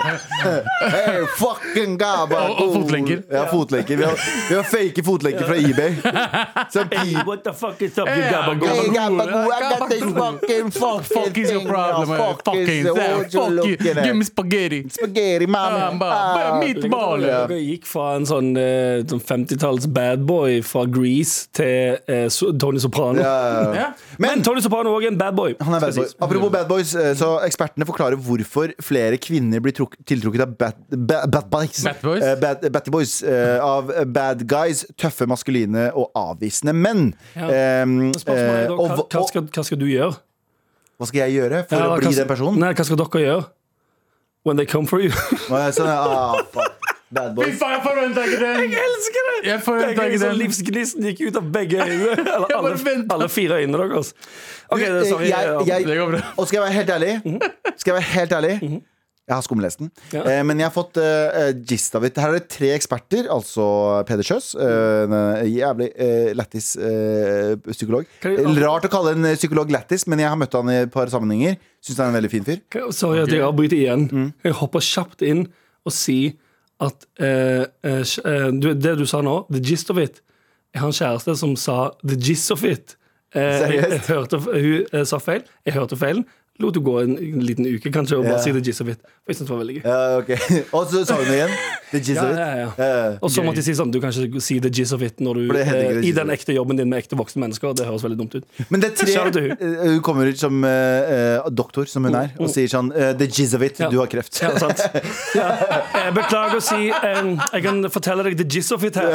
hey, fucking gabagool!
Og- og fotlenker.
Ja, fotlenker. Vi har, vi har fake fotlenker fra eBay. Sånn pi...
What the fuck is up, you
Ja,
gabagool?
Hey, gabagool, I got this
Gabagool.
fucking fucking
Fuck is your
thing.
problem? eh?
Fuck
Fuck
is
is
the
that?
what you
Fuck you.
looking at.
Give me spaghetti.
Spaghetti,
Um,
mamma. Ah.
ba- ba- Meatball.
Dere gikk fra en sånn, eh, sånn 50-talls badboy fra Grease til eh, so- Tony Soprano.
Ja.
Men Tony Soprano er også en badboy.
Han er bad boy. Apropos bad boys, eh, så ekspertene forklarer hvorfor flere kvinner blir truk- tiltrukket av bad, bad, bad boys.
Bad boys?
Eh, bad, batty boys eh, av bad guys, tøffe, maskuline og avvisende menn.
Ja.
Ehm,
Spørsmålet
eh,
er da,
og,
hva,
hva-
hva,
og,
skal, hva skal du gjøre?
hva skal jeg gjøre for
Ja,
å
hva
bli
skal-
den personen?
Nei, hva skal dere gjøre? When they come for you.
Nå er jeg Sånn, ah, fuck. Bad
Fy
boys.
faen, jeg forventa ikke den!
Jeg elsker det!
Jeg får
Det er
tak i
ikke sånn
den.
Livsgnisten gikk ut av begge øyne. Eller
bare
alle,
ventet.
alle fire øynene deres. Ok, det er sorry. eh,
Jeg-
ja.
jeg-
Det går bra.
Og skal jeg være helt ærlig Skal jeg være helt ærlig Jeg har skumlest den
Mhm. Ja.
eh, Men jeg har fått eh, eh, gist av det Her er det tre eksperter Altså Peder Kjøs eh, en eh, Jævlig eh, lættis eh, psykolog Eh,
Kan jeg-
Rart å kalle en psykolog lættis Men jeg har møtt han i et par sammenhenger Synes han er en veldig fin fyr
Sorry at jeg avbryter igjen.
Mm.
Jeg hopper kjapt inn og sier at eh, eh, sj- eh, du, det du sa nå, the gist of it Jeg har en kjæreste som sa the gist of it. Eh, jeg, jeg
Seriøst?
hørte, hun eh, sa feil. Jeg hørte feilen. Lot henne gå en, liten uke kanskje og bare
Ja.
si the gist of it. For jeg synes det var veldig gøy.
Ja, ok Og så sa hun det igjen The gist
Ja,
of it
ja, ja.
Eh,
Og så måtte jeg si sånn, du kan ikke si the gist of it når du,
For det heter ikke
eh,
the
i
gist of
den ekte jobben din med ekte voksne mennesker. Det høres veldig dumt ut.
Men det er
Shout out
tre
til hun.
eh, Hun kommer ut som eh, eh, doktor Som hun er Og sier sånn eh, The gist of it
Oh, Ja.
Du har kreft
Ja, sant. Ja. Eh, Beklager å si eh, Jeg kan fortelle deg the gist of it her.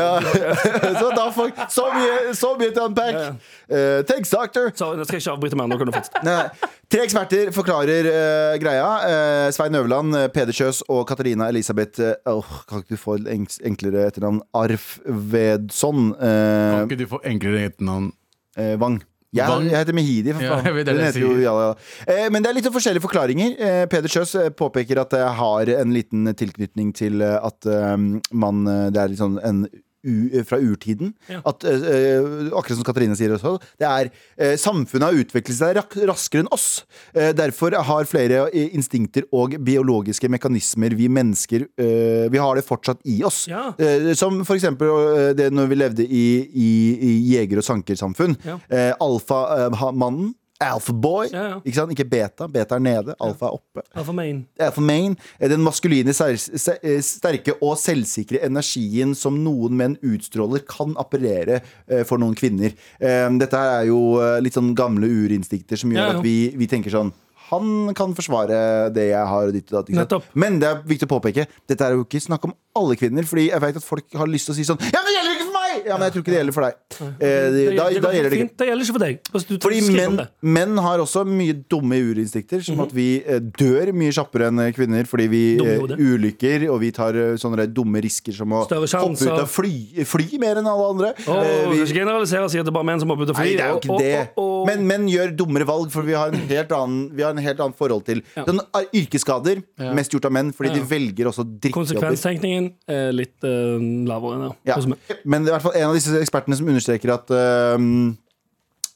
Så da får så mye, så mye til unpack. Eh, thanks, doctor.
Så nå skal jeg ikke avbryte mer. Nå kan du fortsette.
Nei, nei. Tre eksperter forklarer eh, greia. Eh, Svein Øverland, eh, Peder Kjøs og Katarina Elisabeth eh, åh, Kan ikke du få et enk- enklere etternavn? Arfvedsson eh,
Kan ikke du få enklere etternavn?
eh, Wang. Jeg, har-
Wang?
jeg heter Mehidi, for
Ja,
faen.
jeg vet det
Hun
jeg
heter jo,
sier.
ja, ja. Eh, men det er litt sånn forskjellige forklaringer. Eh, Peder Kjøs eh, påpeker at jeg har en liten tilknytning til eh, at eh, man eh, Det er litt sånn en u, eh, fra urtiden. At, eh, eh, akkurat som Katarina sier også, det er eh, samfunnet har utviklet seg rak raskere enn oss. Eh, derfor har flere eh, instinkter og biologiske mekanismer vi mennesker eh, Vi har det fortsatt i oss.
Ja.
Eh, som for eksempel eh, det når vi levde i, i, i jeger- og sankersamfunn.
Ja.
Eh, Alfamannen. Alfaboy.
Ja, ja.
Ikke sant? Ikke beta. Beta er nede, alfa er oppe.
Alfa Main.
Alpha main er den maskuline, ser- se- eh, sterke og selvsikre energien som noen menn utstråler, kan apparere eh, for noen kvinner. Eh, Dette her er jo eh, litt sånn gamle urinstinkter som
Ja,
gjør
ja.
at vi, vi tenker sånn han kan forsvare det jeg har. Og ditt og datt, ikke sant?
Nettopp.
Men det er viktig å påpeke dette er jo ikke snakk om alle kvinner. Fordi jeg vet at folk har lyst til å si sånn Ja, men det gjelder jo ikke for meg! Nei, ja, men jeg tror ikke det gjelder for deg. Eh, det- da, da gjelder det ikke.
fint. Det gjelder ikke for deg. Hvis du tar-
Fordi
skriver om
menn,
det. Mhm.
menn har også mye dumme urinstinkter, som at vi eh, dør mye kjappere enn eh, kvinner fordi vi
Dumme i
eh,
hodet.
ulykker, og vi tar eh, sånne der dumme risker som å
Større
hoppe
sjanser.
ut av fly, fly mer enn alle andre.
Å,
Eh,
du
vi,
skal ikke generalisere og si at det er bare menn som har begynt å fly.
Nei, det er jo
Å,
ikke
å,
det.
å, å.
Men menn gjør dummere valg, for vi har en helt annen, vi har en helt annen forhold til
Ja.
den er- yrkesskader.
Ja.
Mest gjort av menn, fordi
Ja.
de velger også drittjobber.
Konsekvenstenkningen er litt eh, lavere enn
Ja.
hos menn.
Men det er i hvert fall en av disse ekspertene som understreker at øhm,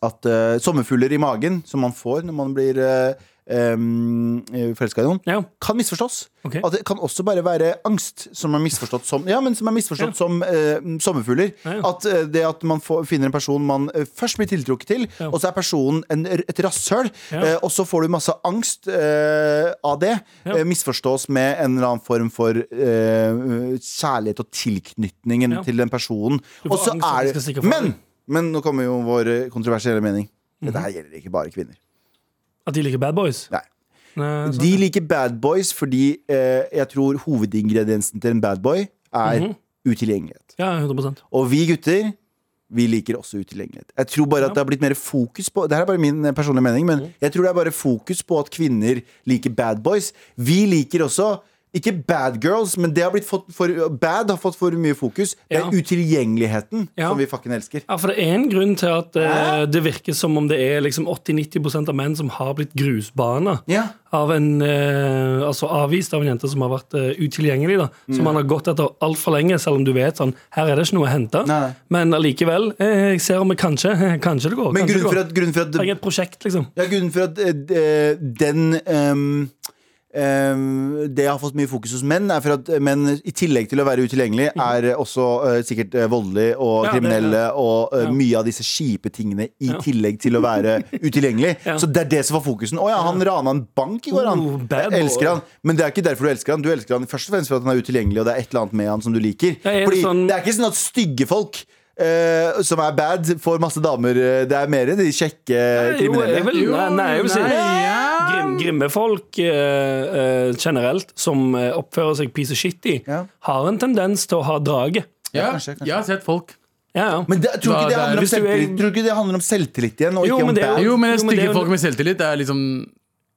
At øh, sommerfugler i magen, som man får når man blir øh, forelska i noen,
Ja.
kan misforstås.
Ok.
At det kan også bare være angst som er misforstått som Ja, men som er misforstått
Ja.
som øh, sommerfugler.
Ja, ja.
At øh, det at man får, finner en person man øh, først blir tiltrukket til,
Ja.
og så er personen en, et rasshøl,
Ja.
øh, og så får du masse angst øh, av det,
Ja.
øh, misforstås med en eller annen form for øh, kjærlighet og tilknytningen
Ja.
til den personen.
Du får
Og så
angst for at
er
de skal stikke
det
fra
men,
deg. Mhm.
men nå kommer jo vår eh, kontroversielle mening. Dette her gjelder ikke bare kvinner.
At de liker bad boys. Eh,
Nei.
Nei, sant.
De liker bad boys fordi eh, jeg tror hovedingrediensen til en bad boy er
Mhm.
utilgjengelighet.
Ja, 100
Og vi gutter vi liker også utilgjengelighet. Jeg tror bare at det har blitt mer fokus på Det her er bare min eh, personlige mening,
Mhm.
men jeg tror det er bare fokus på at kvinner liker bad boys. Vi liker også ikke bad girls, men det har blitt fått for, bad har fått for mye fokus. Det er
Ja.
utilgjengeligheten
Ja.
som vi fucking elsker.
Ja, for det er en grunn til at eh, det virker som om det er liksom 80-90 av menn som har blitt grusbana.
Ja.
Av en, eh, altså avvist av en jente som har vært eh, utilgjengelig. da
Mm.
Som han har gått etter altfor lenge, selv om du vet sånn, her er det ikke noe å hente.
Nei.
Men allikevel, eh, jeg ser om jeg kanskje Kanskje det går.
Men grunnen
kanskje det
for
går.
at, grunnen for at
Jeg er et prosjekt, liksom.
Ja, grunnen for at eh, d- den ehm, ehm, Det har fått mye fokus hos menn, er for at menn i tillegg til å være utilgjengelig, er eh, også eh, sikkert eh, voldelige og
Mhm. Ja, det-
kriminelle og eh,
Ja.
mye av disse kjipe tingene i
Ja.
tillegg til å være utilgjengelig.
Ja.
Så det er det som var fokusen. Å ja, han rana en bank i går, han.
Oh, bad
Jeg elsker
boy.
han. Men det er ikke derfor du elsker han. Du elsker han først og fremst for at han er utilgjengelig, og det er et eller annet med han som du liker.
Ja, er det
Fordi
sånn-
det er ikke sånn at stygge folk eh, som er bad, får masse damer. eh, Det er mer de kjekke kriminelle.
Jo, jeg vil, nei, nei, jeg vil si
ja.
grim, Grimme folk eh, eh, generelt som eh, oppfører seg piece of shit i,
Ja.
har en tendens til å ha draget.
Ja,
kanskje, kanskje.
Jeg har sett folk.
Ja, ja.
Men det, tror, du
Da-
ikke det
da-
handler om
hvis du er-
selvtillit, tror du ikke det handler om selvtillit igjen? Og
Jo,
ikke om
men det er
bad?
Jo, men
Jo, men det er
stygge
jo-
folk med selvtillit er liksom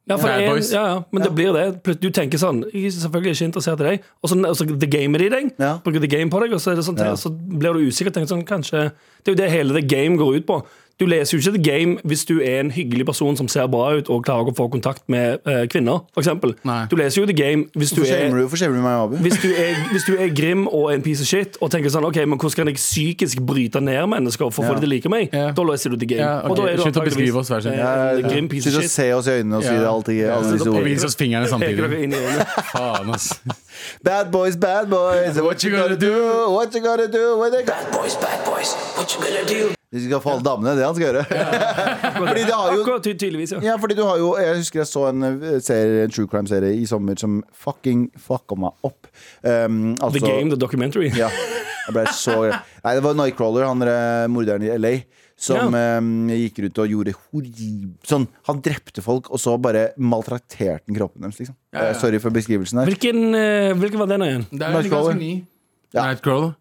Ja, for
Bad
en,
boys.
ja, ja, men det blir det. Plut- Du tenker sånn Jeg er selvfølgelig ikke interessert i deg. Og så, og så the gamer de deg.
Ja.
Bruker the game på deg, og så, er det sånn,
Ja.
og så blir du usikker. og Tenker sånn, kanskje Det er jo det hele the game går ut på. Du leser jo ikke The Game hvis du er en hyggelig person som ser bra ut og klarer å få kontakt med eh, kvinner, f.eks.
Nei.
Du leser jo The Game hvis du
Hvorfor
er
shamer du- Hvorfor shamer du meg, Abu?
hvis du, er, hvis du er grim og en piece of shit og tenker sånn Ok, men hvordan kan jeg psykisk bryte ned mennesker for å
Ja.
få de til å like meg?
Ja.
Da leser du The Game.
Ja, ok.
Og da er du
Slutt å
antageligvis,
beskrive oss, vær så snill.
eh,
Ja, ja, ja.
Grim piece
Slutt
of
å
shit.
se oss i øynene og si det alt i alle disse
Og
ordene.
vis oss fingrene
Peker dere
samtidig.
inn i øynene.
Faen, ass.
Bad boys, bad boys, what you gonna do? What you gonna do? What you gonna... Du skal få alle damene, det er det han skal gjøre. Fordi det har jo
Akkurat, ty- tydeligvis, ja.
ja, fordi du har jo Jeg husker jeg så en, eh, serie, en true crime-serie i sommer som fucking fucka meg opp. Um,
The
altså,
Game, the documentary.
Ja, jeg ble så Nei, det var Nightcrawler, han der eh, morderen i LA Som eh, gikk rundt og gjorde horrib Sånn, han drepte folk Og så bare maltrakterte han kroppen deres liksom.
ja.
Eh, Sorry for beskrivelsen her
Hvilken, eh, hvilken var den igjen?
Det er
Nightcrawler.
ganske ny.
Ja.
Nightcrawler.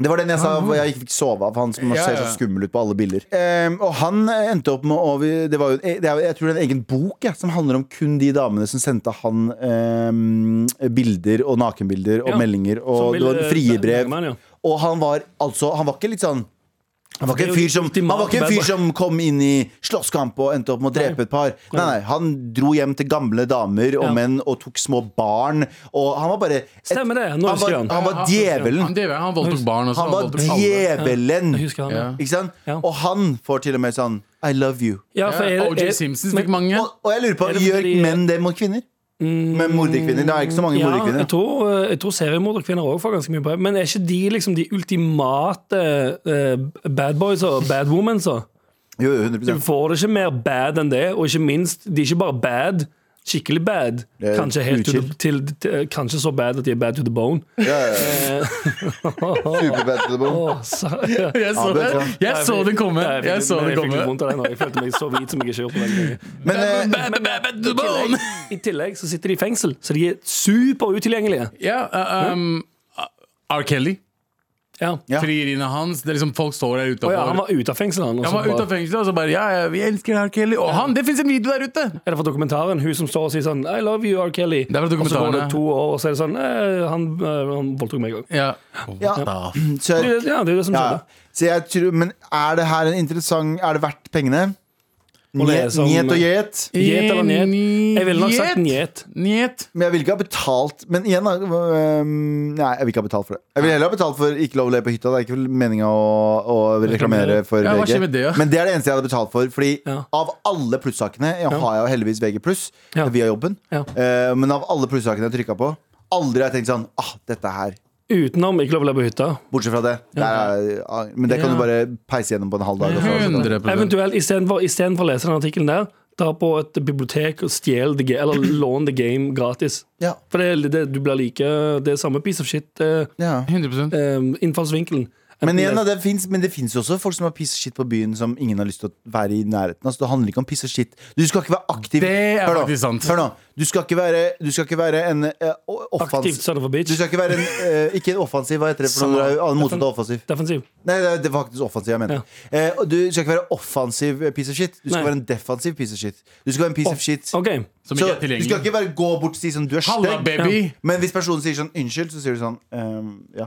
Det var den jeg sa hvor jeg ikke fikk sove av Han som
Ja,
ser
ja.
så skummel ut på alle bilder Eh, Og han eh, endte opp med å Det var jo, eh, det er, jo- jeg tror det er en egen bok jeg, Som handler om kun de damene som sendte han eh, Bilder og nakenbilder Og
Ja.
meldinger
Som
Og det var
ville-
friebrev
Bergman, ja.
Og han var altså Han var ikke litt sånn han var, ikke
Det er
en
jo
fyr som, han
ultimat
var ikke en
bad
fyr
boy.
som kom inn i slåsskamp og endte opp med å drepe et par. Nei, nei, Han dro hjem til gamle damer og
Ja.
menn og tok små barn. Og han var bare et,
Stemmer det, nå
han,
husker
var,
jeg
han.
han.
var djevelen.
Han, djevel, han voldtok barn også.
Han var
voldtok alle.
djevelen.
Jeg husker han, ja.
Ikke sant?
Ja.
Og han får til og med sånn I love you.
Ja, for er,
Ja,
er,
OJ Simpsons fikk
men-
mange.
Og, og jeg lurer på,
Er det
gjør
fordi- Mm,
menn det mot kvinner? Med morderkvinner? Det er ikke så mange
ja, jeg
morderkvinner.
tror, eh, jeg tror seriemorderkvinner òg får ganske mye brev. Men er ikke de liksom de ultimate eh, bad boys og bad women, så?
Jo, jo,
Du
100
får det ikke mer bad enn det, og ikke minst, de er ikke bare bad. Skikkelig bad.
Det er
Kanskje, helt to the,
utskilt.
til, til, kanskje så bad at de er bad to the bone. Eh.
ja, ja. Superbad to the bone.
Åh, sa- ja.
Jeg så,
Ja, det tror
det.
jeg.
jeg så den komme.
Nei,
Jeg
Eh, fikk-
så
men
den
jeg fikk litt
komme.
vondt av det nå. Jeg følte meg så hvit som jeg ikke har gjort på veldig lenge.
Men eh,
Bad, bad, bad, the
I
bone.
tillegg, I tillegg så sitter de i fengsel, så de er superutilgjengelige.
Ja, uh, um, R. uh, Kelly.
Ja.
Ja.
Frieriene hans. Det er liksom Folk står der
Å
utafor.
ja, han var ute av fengselet, han. og så
ute
bare-
av fengselet, og så bare Ja, ja, vi elsker R. Kelly. Og han! Det fins en video der ute!
Er det fra dokumentaren? Hun som står og sier sånn I love you, R. Kelly.
er fra
og så går det
dokumentaren,
to år, og så er det sånn eh, Han, eh, han voldtok meg en gang.
Ja.
Ja. Så,
Det, er- ja, det er jo det som
ja.
skjedde.
Så jeg tror, men er det her en interessant Er det verdt pengene?
Og det er
Njet
som-
njet og gjet?
Njet eller njet? Jeg ville nok sagt njet.
Njet.
Men jeg vil ikke ha betalt Men igjen da øhm, Nei, jeg vil ikke ha betalt for det Jeg vil heller ha betalt for Ikke lov å le på hytta Det er ikke meningen å, å reklamere for
Ja, hva
VG
skjer med det, ja?
Men det er det eneste jeg hadde betalt for Fordi
Ja.
av alle plusssakene Jeg har jo heldigvis VG pluss
Ja.
Via jobben
Ja.
Eh, Men av alle plusssakene jeg trykket på Aldri har jeg tenkt sånn Ah, dette her
Utenom Ikke lov å le på hytta.
Bortsett fra det der er, ah, Men det kan
Ja.
du bare peise gjennom på en halv dag og så-
100
Eventuelt istedenfor istedenfor å lese den artikkelen der, dra på et bibliotek og stjel the game, eller lån the game gratis.
Ja,
For det, er- det, du blir like Det er samme piece of shit. eh,
ja
Eventuelt.
eh, innfallsvinkelen.
men, igjen, da,
Enten
det finnes, men det finnes jo også folk som har piss og shit på byen Som ingen har lyst til å være i nærheten av Så det handler ikke om piss og shit Du skal ikke være aktiv
Det er
Hør nå.
faktisk sant.
Hør nå. Du skal ikke være, du skal ikke være en eh, o-
Aktivt
offensiv
son of a
Du
bitch.
skal ikke være en eh, Ikke en offensiv, hva heter det? for
Sånn.
noe? Det er jo annen motsatt av offensiv.
Defensiv.
Nei, det er- det var faktisk offensiv jeg mente. Eh, og du skal ikke være offensiv eh, piece of shit. Du skal
Nei.
være en defensiv piece of shit. Du skal være en piece of shit.
OK.
Så
Som ikke er
du skal
tilgjengelig.
ikke bare gå bort og si sånn du er
Halla,
stygg.
baby!
Men hvis personen sier sånn unnskyld, så sier du sånn ehm, ja.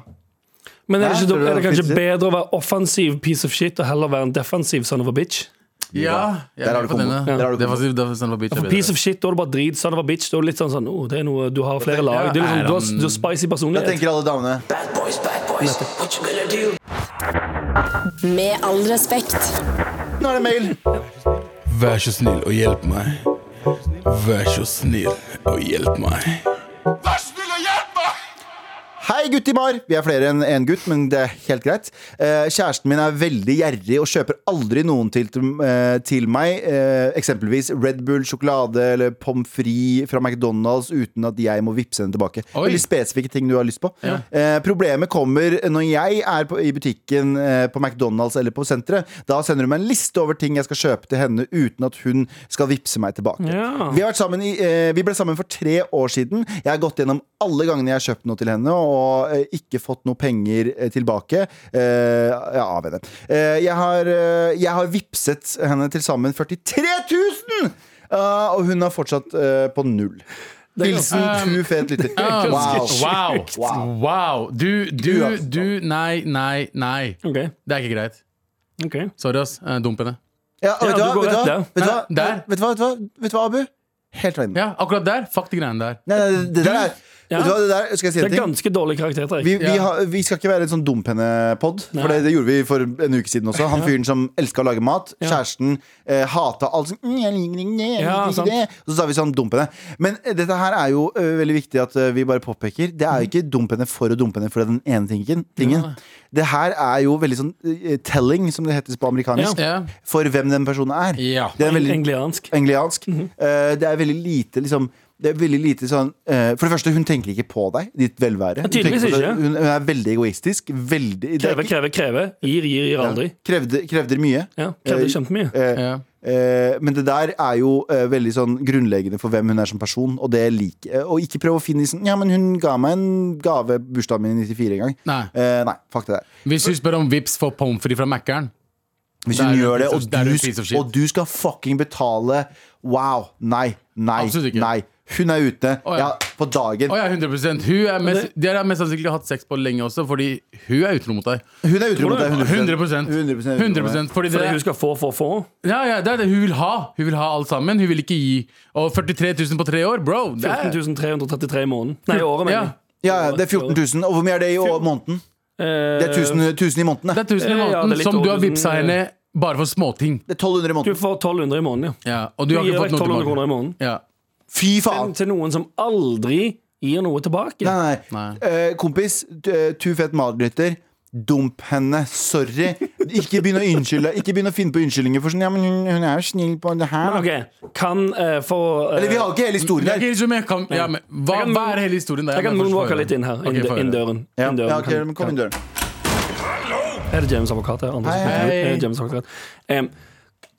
Men er det,
Hæ?
ikke,
Tror du
er det
det
kanskje
finnes
bedre å være offensiv piece of shit og heller være en defensiv son of a bitch?
Ja.
Der har du kombo. Der har du kombo.
Det var det var sånn på bitch.
For piece of shit, da er det bare drit. Son of a bitch. Da er det litt sånn sånn oh, det er noe, Du har flere lag. Det er liksom, du, har, du har spicy
Da
personlighet.
tenker alle damene
Med all respekt.
Nå er det mail!
Vær så snill og hjelp meg. Vær så snill og hjelp meg.
Hei, guttimar! Vi er flere enn én gutt, men det er helt greit. Eh, kjæresten min er veldig gjerrig og kjøper aldri noen til, eh, til meg. Eh, eksempelvis Red Bull, sjokolade eller pommes frites fra McDonald's uten at jeg må vippse henne tilbake.
Oi.
Veldig spesifikke ting du har lyst på. Eh, problemet kommer når jeg er på, i butikken eh, på McDonald's eller på senteret. Da sender hun meg en liste over ting jeg skal kjøpe til henne uten at hun skal vippse meg tilbake.
Ja.
Vi, har vært sammen i, eh, vi ble sammen for tre år siden. Jeg har gått gjennom alle gangene jeg har kjøpt noe til henne og eh, ikke fått noe penger eh, tilbake eh, ja, av henne. Eh, jeg, har, eh, jeg har vippset henne til sammen 43 000! eh, og hun har fortsatt eh, på null. Hilsen
ganske-
ku fet lytter.
Wow.
Wow.
Wow. wow. Du, du,
altså.
du Nei, nei, nei.
OK.
Det er ikke greit.
ok
Sorry, ass. Eh, Dump henne.
Ja, og vet,
Ja,
du
du
hva,
går
vet, du hva,
rett
vet, du hva,
Nei, der.
vet du hva? Vet du hva? Vet du hva, Abu? Helt regn.
Ja, akkurat der. Fuck de greiene der.
Nei, nei, det der er
Ja.
Vet du hva, det der Skal jeg si en
Det er
ting?
ganske dårlig karakter, Erik.
Vi, vi,
Ja.
har, vi skal ikke være en sånn dumpennepod, for
Nei.
det, det gjorde vi for en uke siden også. Han fyren som elska å lage mat.
Ja.
Kjæresten eh, hata alt sånn «Mm, jeg liker ikke det, jeg
Ja,
liker
sant.
ikke det». Og så sa vi sånn dumpende. Men eh, dette her er jo eh, veldig viktig at eh, vi bare påpeker. Det
Mm.
er jo ikke dumpende for å dumpende for den ene tingen. tingen. Det her er jo veldig sånn eh, telling, som det heter på amerikansk,
Ja.
for hvem den personen er.
Ja.
Det er veldig
Engliansk.
engliansk.
Mhm.
Eh, det er veldig lite liksom det er veldig lite sånn eh, For det første, hun tenker ikke på deg, ditt velvære. Hun,
tydeligvis
tenker på deg-
ikke.
hun, hun er veldig egoistisk. Veldig det er
Kreve,
ikke-
kreve, kreve. Gir, gir, gir aldri.
Krevde, krevde mye.
Ja, krevde kjempemye.
Eh,
Ja.
eh, men det der er jo eh, veldig sånn grunnleggende for hvem hun er som person, og det liker jeg. Og ikke prøv å finne i sånn Ja, men hun ga meg en gave bursdagen min i 94 en gang.
Nei.
Eh, nei, fuck det der.
Hvis du spør om vips for pommes frites fra Mækkern
Hvis
Det er
hun
jo
gjør det,
piece
og
of- det er jo
du,
piece of
sk-
shit.
og du skal fucking betale Wow. Nei, nei,
Absolutt ikke.
nei. Hun er ute.
Å, ja.
ja. på dagen.
Å ja, 100 hun er mest, De har mest sannsynlig hatt sex på lenge også, fordi hun er utro mot deg.
Hun er utro mot deg.
100
100%.
100%, Fordi det
Fordi
er
hun skal få, få, få.
Ja, ja, det er det hun vil ha. Hun vil ha alt sammen. Hun vil ikke gi. Og 43 000 på tre år, bro! Det er,
14 333 i måneden. Nei, i året, mener
ja,
jeg.
Ja, ja, det er 14 000. Og hvor mye er det i år- måneden?
Eh,
Det er 1000,
Eh,
1000 i måneden.
det
Det.
er 1000
Ja,
i
ja, det
måneden
er litt eh.
som du har
over 1000,
vippsa henne bare for småting.
det er 1200 i
Du
måneden.
får 1200 i måneden, ja.
Ja, og du har
Du gir
ikke
vekk
fått noe
1200 kroner
tilbake.
i måneden.
Ja.
Fy faen!
Til noen som aldri gir noe tilbake.
Nei, nei.
Nei.
Eh, kompis, du- eh, tu fet marerittlytter. Dump henne. Sorry. Ikke begynn å unnskylde Ikke begynn å finne på unnskyldninger for sånn Ja, men hun, hun er jo snill på det her. da.
Ok, kan eh, få eh,
Eller vi har jo ikke hele historien der.
Jeg kan resumere, kan, ja, men, hva,
Jeg kan-
hva er hele historien der?
Jeg kan
må først få
moonwalke
høre.
litt inn her.
Ok,
Inn,
få høre.
inn døren.
Ja,
Inn døren.
ja, ok, men kom inn døren.
Er det James advokat her? Andre som
Hei,
sitter her?
hei.
Er det James advokat? Em,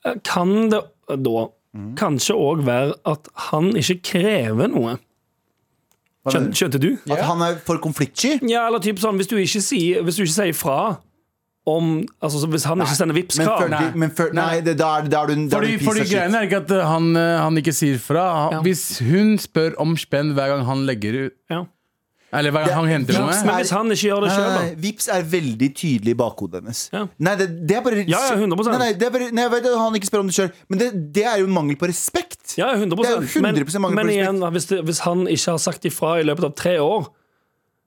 eh, kan det
Mm.
da kanskje òg være at han ikke krever noe?
Hva
Skjøn-
mener du?
Skjønte du?
At han er for konfliktsky?
Ja, eller typ sånn, hvis du ikke sier, hvis du ikke sier fra om altså, så Hvis han ikke sender
Men,
Vipps-krav
Fergie- men Fer- nei, det, da er, da er du, da er
Fordi,
du piece
fordi
of shit.
greiene er ikke at eh, han, eh, han ikke sier fra. Han-
Ja.
Hvis hun spør om spenn hver gang han legger ut
ja.
Eller hver gang han henter
Vips, Men
noe
hvis han ikke gjør det
Nei,
sjøl,
nei,
da?
nei, Vips er veldig tydelig i bakhodet hennes.
Ja.
Nei, det, det er bare
Ja, ja, 100%.
Nei, nei, det er bare, nei, jeg vet at han ikke spør om det sjøl, men det, det er jo mangel på respekt.
Ja, 100
Det er jo 100%
Men,
mangel på
men
respekt.
igjen, da, hvis, det, hvis han ikke har sagt ifra i løpet av tre år,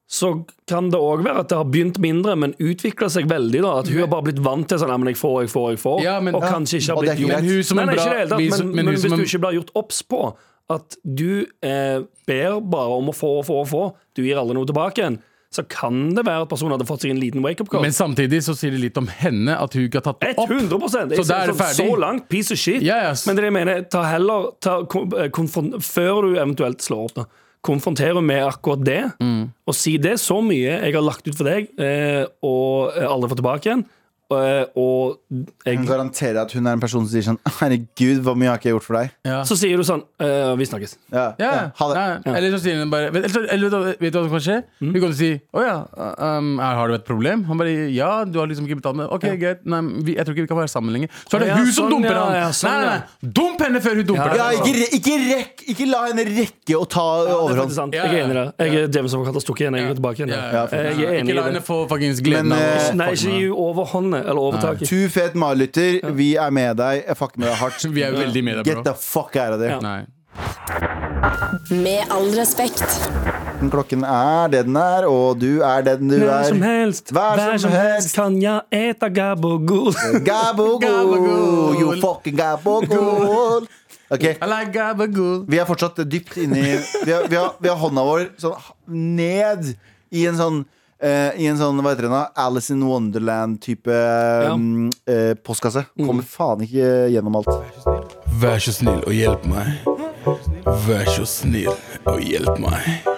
så kan det òg være at det har begynt mindre, men utvikla seg veldig. da At hun har bare blitt vant til sånn «Nei, men jeg får, jeg får, jeg får.
Ja, men-
og
Ja,
kanskje
og
ikke har
det er
blitt gjort.
greit.
Men hun som
Nei,
en
nei,
bra
ikke i det hele tatt,
vi som-
men,
men
men
hun
hvis
som
du
en-
ikke blir gjort obs på at du eh, ber bare om å få og få og få, du gir alle noe tilbake igjen, så kan det være at personen hadde fått seg en liten wake-up-call.
Men samtidig så sier det litt om henne at hun ikke har tatt det opp.
100 jeg
Så da
sier
er det
sånn,
ferdig.
Så langt, piece of shit.
Ja, ja, s-
Men det jeg mener, ta heller ta, kon- eh, konfron- Før du eventuelt slår opp, da. Konfrontere med akkurat det,
Mm.
og si det er så mye jeg har lagt ut for deg, eh, og eh, aldri fått tilbake igjen. eh, og
Jeg
jeg,
garanterer at hun er en person som sier sånn Herregud, hvor mye har ikke jeg gjort for deg?
Ja.
så sier du sånn eh, Vi snakkes.
Ja,
Ja,
ja, Mm. Ha det.
Nei, Eller så sier hun bare Eller, så- eller, vet du- vet du hva som kan skje? Hun kommer til å si Å ja, um, her har du et problem? Han bare Ja, du har liksom ikke betalt meg. Ok, greit. Nei, men vi, jeg tror ikke vi kan være sammen lenger. Så er det
Ja,
hun som
sånn,
dumper
ja,
han!
ja, sånn,
nei, nei, nei. Dump henne før hun dumper
Ja,
deg!
ikke, re- ikke, rekk, ikke la henne rekke å ta
Det er
overhånd.
faktisk sant.
Ja,
Jeg er
ja.
enig i det. Jeg er James Advokat har stukket igjen. Jeg er tilbake igjen. Eh,
Ja, ja,
for-
jeg er
Ikke
enig
la
i
henne
det.
få fuckings gleden
Men, eh,
av
Nei, ikke gi overhåndet eller overtaket.
Tu fet Mar-lytter, vi er med deg. Jeg fucker med deg hardt.
Vi er veldig med deg,
Get
bro.
the fuck out of there.
Ja.
Nei.
Med all respekt.
Klokken er det den er, og du er den du
Når som
er.
helst,
Hver
hver
som
som helst
helst.
kan jeg ete gabogol.
Gabogol,
Gabagol.
you fucking gabogol. Ok,
I like gabagool.
vi er fortsatt dypt inni Vi har, vi har, vi har hånda vår sånn ned i en sånn eh, I en sånn, hva heter det nå? Alice in Wonderland-type mm, eh, postkasse.
Mm.
Kommer faen ikke gjennom alt.
Vær så snill og hjelp meg. Vær så snill og hjelp meg.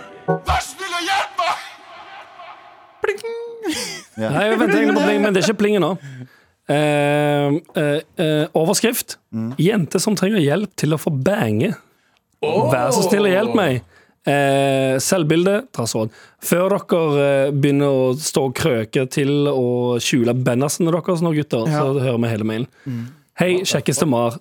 Nei, jeg venter egentlig på pling, men det er ikke plinget nå. Eh, eh, eh, overskrift. Jente som trenger hjelp til å få bange. Vær så snill og hjelp meg. Eh, selvbilde tas råd. Før dere eh, begynner å stå og krøke til å skjule bannersene deres nå, gutter, så hører vi hele mailen. Hei, kjekkeste Mar.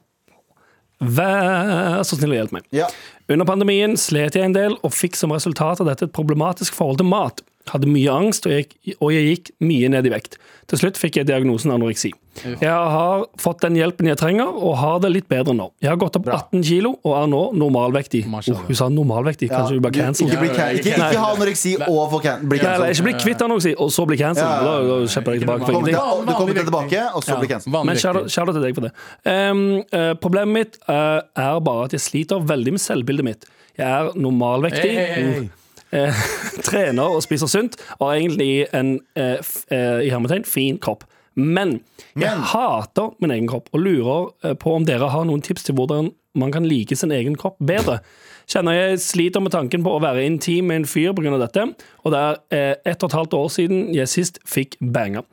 Vær så snill og hjelp meg.
Ja.
Under pandemien slet jeg en del, og fikk som resultat av dette et problematisk forhold til mat. Hadde mye angst, og jeg, og jeg gikk mye ned i vekt. Til slutt fikk jeg diagnosen anoreksi. Jeg har fått den hjelpen jeg trenger, og har det litt bedre nå. Jeg har gått opp 18 kilo, og er nå normalvektig.
Mashallah.
Oh, hun sa normalvektig, kanskje hun ble cancelled?
Ikke, bli can ikke,
Nei.
ikke ha anoreksi og få can bli
Nei, nei,
cancelled.
ikke bli kvitt anoreksi, og så bli cancelled.
Ja, ja, ja.
Da, da kjemper jeg tilbake for
Kommer
ingenting.
til- Du kommer til tilbake, og så
Ja.
bli cancelled.
Vanlig
Men kjære,
riktig.
kjære til deg for det. Ehm, eh, problemet mitt eh, er bare at jeg sliter veldig med selvbildet mitt. Jeg er normalvektig.
Hei, hei, hei.
eh, trener og spiser sunt, og har egentlig en eh, f, eh, i hermetegn fin kropp. Men jeg
Men.
hater min egen kropp og lurer eh, på om dere har noen tips til hvordan man kan like sin egen kropp bedre. Kjenner jeg sliter med tanken på å være intim med en fyr pga. dette, og det er eh, ett og et halvt år siden jeg sist fikk banga.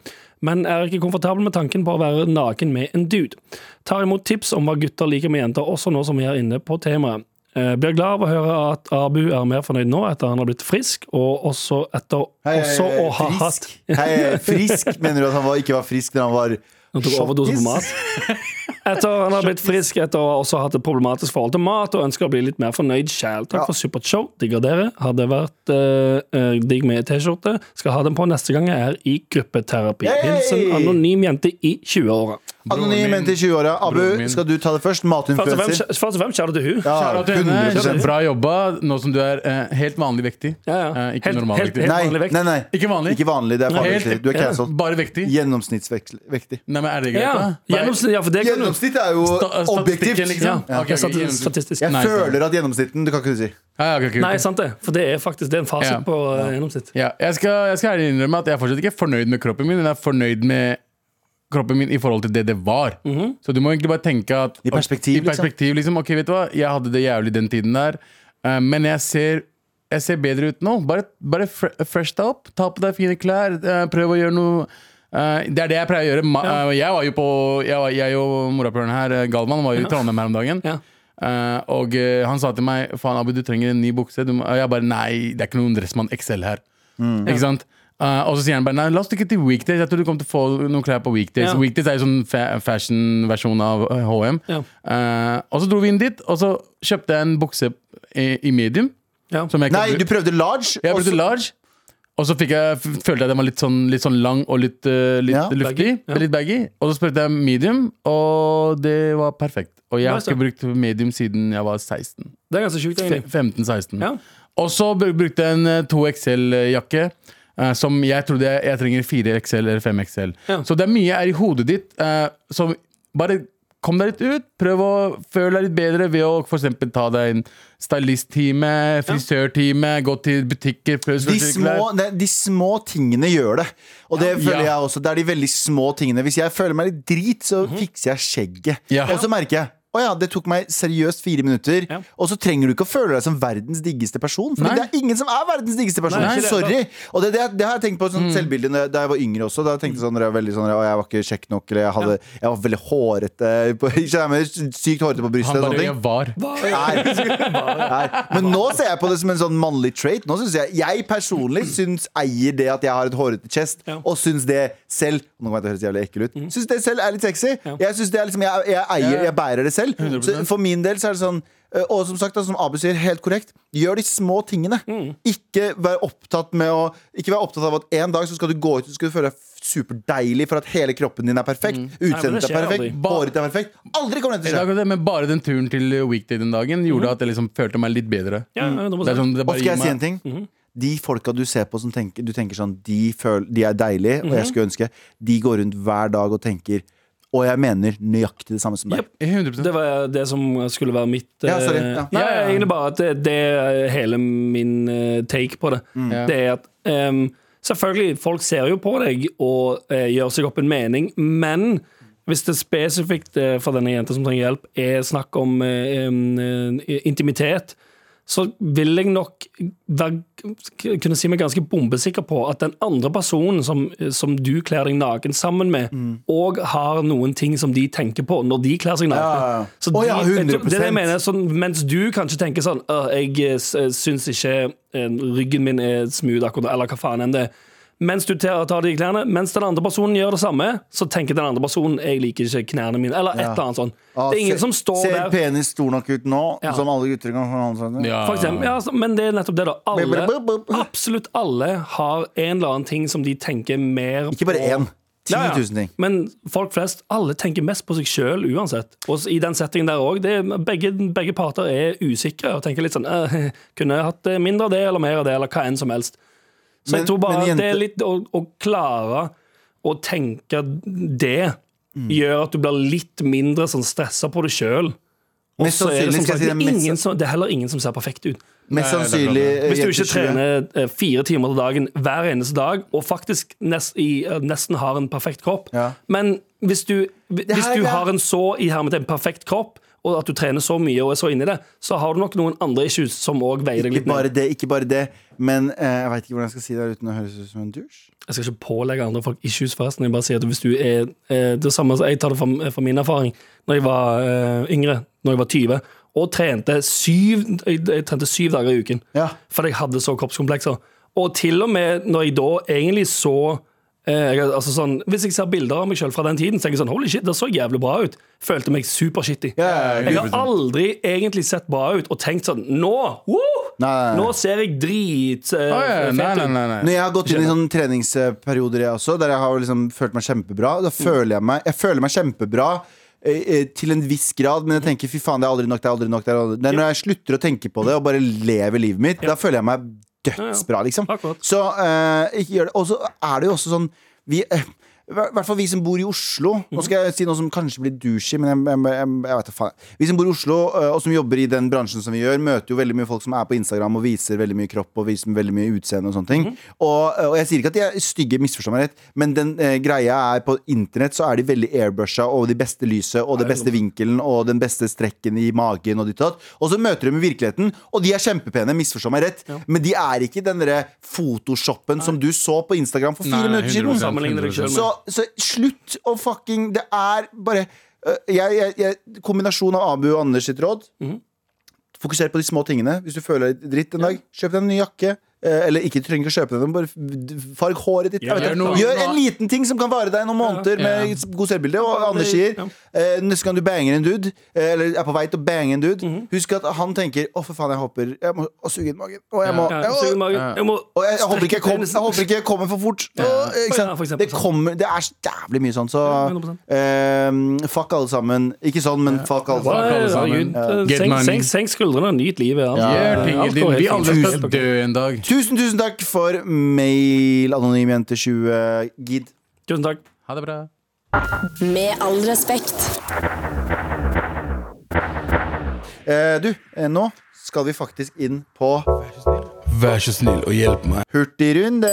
Men er ikke komfortabel med tanken på å være naken med en dude. Tar imot tips om hva gutter liker med jenter, også nå som vi er inne på temaet. Eh, Blir glad av å høre at Abu er mer fornøyd nå etter han har blitt frisk, og også etter
Hei, hei,
også å ha hatt
frisk. Hei, hei, frisk. Mener du at han var, ikke var frisk da han var
Han tok overdose på mat. Etter han har blitt frisk etter å ha også hatt et problematisk forhold til mat, og ønsker å bli litt mer fornøyd sjæl. Takk
Ja.
for supert show. Digger dere. Hadde vært eh, eh, digg med T-skjorte. Skal ha den på neste gang jeg er i gruppeterapi.
Hey!
Hilsen anonym jente i 20-åra.
Anonym jente i 20-åra.
Broren
Abu,
min.
skal du ta det først?
Først og fremst
Matinfluencer.
først og fremst kjære til hun.
Ja,
Kjære til henne.
100%.
Bra jobba nå som du er eh, helt vanlig vektig.
Ja, ja.
Eh, ikke
Helt- helt-
normalvektig.
helt-
Nei,
vanlig vekt.
nei, nei.
Ikke vanlig?
Ikke vanlig, det er
Helt-
farlig. Du er sånn cancelled.
Bare vektig?
Gjennomsnittsvektig.
Nei, men er det greit,
Ja,
da?
gjennomsnitt, ja, for det kan du.
Gjennomsnitt er jo
Sta- statistikken,
objektivt.
liksom?
Ja,
Ok, ok,
stati-
gjennomsnitt.
statistisk.
Jeg
Nei,
føler at gjennomsnitten Du kan ikke si.
Ja, ja, ok, ok, ok.
Nei, sant det. For det er faktisk det er en fasit
Ja.
på eh, gjennomsnitt.
Ja, jeg skal, jeg skal ærlig innrømme at jeg er fortsatt ikke fornøyd med kroppen min. Men jeg er fornøyd med kroppen min i forhold til det det var. Så du må egentlig bare tenke at
I perspektiv,
i perspektiv liksom. Ok, vet du hva, jeg hadde det jævlig den tiden der, eh, men jeg ser jeg ser bedre ut nå. Bare, bare fre fresh deg opp. Ta på deg fine klær. eh, Prøv å gjøre noe eh, Det er det jeg pleier å gjøre. Ma eh, Jeg var jo på Jeg, var, jeg og morapuleren her, eh, Galvan, var jo i Trondheim her om dagen.
Ja.
Eh, og eh, han sa til meg Faen, Abu, du trenger en ny bukse. Du må, og jeg bare Nei, det er ikke noen Dressmann XL her.
Mm.
Ikke sant? Eh, og så sier han bare Nei, la oss stikke til Weekdays. Jeg tror du kommer til å få noen klær på Weekdays.
Ja.
Weekdays er jo sånn fa fashion-versjon av eh, HM.
Ja.
Eh, og så dro vi inn dit, og så kjøpte jeg en bukse i, i medium.
Ja.
Som jeg ikke
Nei, du prøvde large.
jeg brukte
og så-
large, og så fikk jeg, f- følte jeg den var litt sånn, litt sånn lang og litt, eh, litt
Ja.
luftig.
Baggy, ja.
Litt baggy. Og så spurte jeg medium, og det var perfekt. Og jeg har
Nice,
ikke brukt medium siden jeg var 16.
Det er ganske sjukt,
Fe-
egentlig.
15-16.
Ja.
Og så br- brukte jeg en eh, 2XL-jakke. eh, som jeg trodde jeg, jeg trenger 4XL eller 5XL.
Ja.
Så det er mye er i hodet ditt. eh, så bare kom deg litt ut. Prøv å føle deg litt bedre ved å for eksempel ta deg en stylisttime, frisørtime, gå til butikker. Prøv å
De
sortere
små,
klær.
ne, de små tingene gjør det. Og det føler
Ja. Mhm.
jeg også. Det er de veldig små tingene. Hvis jeg føler meg litt drit, så fikser jeg skjegget.
Ja.
Og så merker jeg å ja, det tok meg seriøst fire minutter.
Ja.
Og så trenger du ikke å føle deg som verdens diggeste person. Fordi
Nei.
det er ingen som er verdens diggeste person.
Nei, ikke det.
Sorry. Og det, det, det har jeg tenkt på
Mm.
sånn selvbilde når jeg- da jeg var yngre også. Da jeg tenkte sånn, når jeg var veldig sånn Å, jeg var ikke kjekk nok, eller jeg, hadde, jeg var veldig hårete. På, ikke jeg mener, sykt hårete på brystet.
Han
og sånne
bare
ting.
jeg var.
Nei. Nei. Men nå ser jeg på det som en sånn mannlig trait. Nå synes jeg, jeg personlig syns eier det at jeg har et hårete chest,
Ja.
og syns det selv Nå kommer jeg til å høres jævlig ekkel ut. Syns det selv er litt sexy. Jeg synes det er liksom, jeg, jeg eier, jeg bærer det selv. Så for min del så er det sånn øh, og som sagt, da, som Abu sier, helt korrekt Gjør de små tingene. Ikke vær opptatt med å Ikke vær opptatt av at en dag så skal du gå ut og så skal du føle deg superdeilig for at hele kroppen din er perfekt.
men det
Utseendet er
skjer
perfekt.
aldri.
Ba-
Håret ditt er perfekt. Aldri kommer det
Det
til å
er
skje.
akkurat det, Men bare den turen til weekday den dagen gjorde at jeg liksom følte meg litt bedre.
Ja, ja,
Det er sånn, det
Og
bare
skal jeg
gir
si en
meg-
ting?
Mhm.
De folka du ser på som tenker, du tenker sånn De, føl, de er deilige, og
Mhm.
jeg skulle ønske De går rundt hver dag og tenker Og jeg mener nøyaktig det samme som deg.
Jep.
100%
Det var det som skulle være mitt
Ja, sorry.
eh,
Ja.
ja,
Ja, ja, ja.
Egentlig bare at det, det er hele min eh, take på det.
Mm.
Det er at em, Selvfølgelig, folk ser jo på deg og eh, gjør seg opp en mening, men hvis det spesifikt eh, for denne jenta som trenger hjelp, er snakk om eh, em, eh, intimitet, så vil jeg nok være, kunne si meg ganske bombesikker på at den andre personen som, som du kler deg naken sammen med,
Mm.
òg har noen ting som de tenker på når de kler seg naken.
Ja, ja, ja.
Så
Å ja,
de- jeg tror- Det er det
100%.
jeg mener, sånn, mens du kanskje tenker sånn «Åh, Jeg eh, s- eh, syns ikke eh, ryggen min er smooth akkurat, eller hva faen enn det er. Mens du tar tar de klærne Mens den andre personen gjør det samme, så tenker den andre personen Jeg liker ikke knærne mine, eller et eller annet sånn.
Ah,
Det er ingen
se-
som står
ser
der.
penis stor nok ut nå,
Ja.
som alle gutter kan forholde seg til?
Ja.
For eksempel, ja, altså, men det er nettopp det, da.
Bup, bup,
Alle,
bup, bup.
absolutt alle har en eller annen ting som de tenker mer
Ikke bare
på.
én. 10
Ja, ja.
000 ting.
Men folk flest alle tenker mest på seg sjøl uansett. Og i den settingen der òg. Begge, begge parter er usikre og tenker litt sånn eh, Kunne jeg hatt eh, mindre av det eller mer av det, eller hva enn som helst. Så
Men-
jeg tror bare
men jente-
det er litt å, å klare å tenke det
Mm.
gjør at du blir litt mindre sånn stressa på deg sjøl. Og
Mest
så er det
sannsynlig
som
skal jeg si
sagt det
det
er,
er mest-
ingen som, det er heller ingen som ser perfekt ut.
Mest
Nei, det er
sannsynlig eh,
Hvis du
jenter
ikke
tror jeg.
trener eh, fire timer til dagen hver eneste dag, og faktisk nest, i, eh, nesten har en perfekt kropp
Ja.
Men hvis du, hvi- hvis
her
du
er-
har en så i hermetegn perfekt kropp, og at du trener så mye og er så inni det, så har du nok noen andre issues som òg veier deg
Ikke
litt ned.
bare det, ikke bare det. Men eh, jeg veit ikke hvordan jeg skal si det her uten å høres ut som en douche.
Jeg skal ikke pålegge andre folk issues, forresten. Jeg bare sier at hvis du er eh, det samme, Jeg tar det fra, fra min erfaring. Når jeg var eh, yngre, når jeg var 20, og trente syv, jeg, jeg trente syv dager i uken
Ja.
fordi jeg hadde så kroppskomplekser. Og til og med når jeg da egentlig så eh, jeg- altså sånn, Hvis jeg ser bilder av meg sjøl fra den tiden, så tenker jeg sånn Holy shit, det så jævlig bra ut. Følte meg supershitty.
Ja, ja, ja.
Jeg har aldri egentlig sett bra ut og tenkt sånn Nå! Woo!
Nei, nei, nei.
Nå ser jeg drit eh,
Å, ja, ja. Nei,
fet ut.
nei, nei, nei.
Når jeg har gått inn i sånne treningsperioder jeg også, der jeg har liksom følt meg kjempebra, da føler jeg meg Jeg føler meg kjempebra eh, eh, til en viss grad, men jeg tenker fy faen, det er aldri nok, det er aldri nok. Det er, aldri. det er når jeg slutter å tenke på det og bare lever livet mitt, da føler jeg meg dødsbra, liksom.
Akkurat.
Så eh, ikke gjør det. Og så er det jo også sånn Vi eh, i hvert fall vi som bor i Oslo. Nå skal jeg si noe som kanskje blir douchey, men jeg, jeg, jeg, jeg vet da faen. Vi som bor i Oslo, eh, og som jobber i den bransjen som vi gjør, møter jo veldig mye folk som er på Instagram og viser veldig mye kropp og viser veldig mye utseende og sånne ting. og, og jeg sier ikke at de er stygge, misforstå meg rett, men den eh, greia er på internett så er de veldig airbrusha og det beste lyset og den beste vinkelen og den beste strekken i magen og ditt og datt. Og så møter de i virkeligheten, og de er kjempepene, misforstå meg rett, men de er ikke den derre photoshoppen som du så på Instagram for fire
Nei, nei,
minutter siden.
100%,
Sammenligner deg selv med-
Så, så slutt å fucking Det er bare øh, jeg, jeg, jeg, Kombinasjon av Abu og Anders sitt råd.
Mhm.
Fokuser på de små tingene. Hvis du føler deg dritt en dag, kjøp deg en ny jakke. Eh, Eller ikke du trenger ikke å kjøpe den, bare f- farg håret ditt. Jeg
Ja,
vet
gjør
ikke.
noe-
Gjør en liten ting som kan vare deg noen måneder med
Ja.
god selvbilde. Og Anders sier
Ja.
eh, neste gang du banger en dude, eh, eller er på vei til å bange en dude,
Mhm.
husk at han tenker 'Å, for faen, jeg håper Jeg må å, suge inn magen'. Og jeg må,
Ja, så i magen. Jeg må
og jeg, jeg, håper ikke jeg, kom, jeg
strekke
håper ikke jeg kommer for fort. Åh, ikke sant?
Ja, for eksempel, sånn.
det, kommer, det er så jævlig mye sånn, så
Ja, 100%.
eh, fuck alle sammen. Ikke sånn, men fuck alle
Nei,
sammen.
alle sammen.
herregud.
Get
Senk-
money.
senk- Senk skuldrene og nyt livet. altså.
Gjør
Alt
tingene
går
dine.
helt
Vi alle
fint.
skal dø en dag.
Tusen, tusen takk for mail, anonym jente 20. Gid.
Tusen takk.
Ha det bra.
Med all respekt.
Eh, du, eh, nå skal vi faktisk inn på
Vær så snill og hjelp meg.
Hurtigrunde.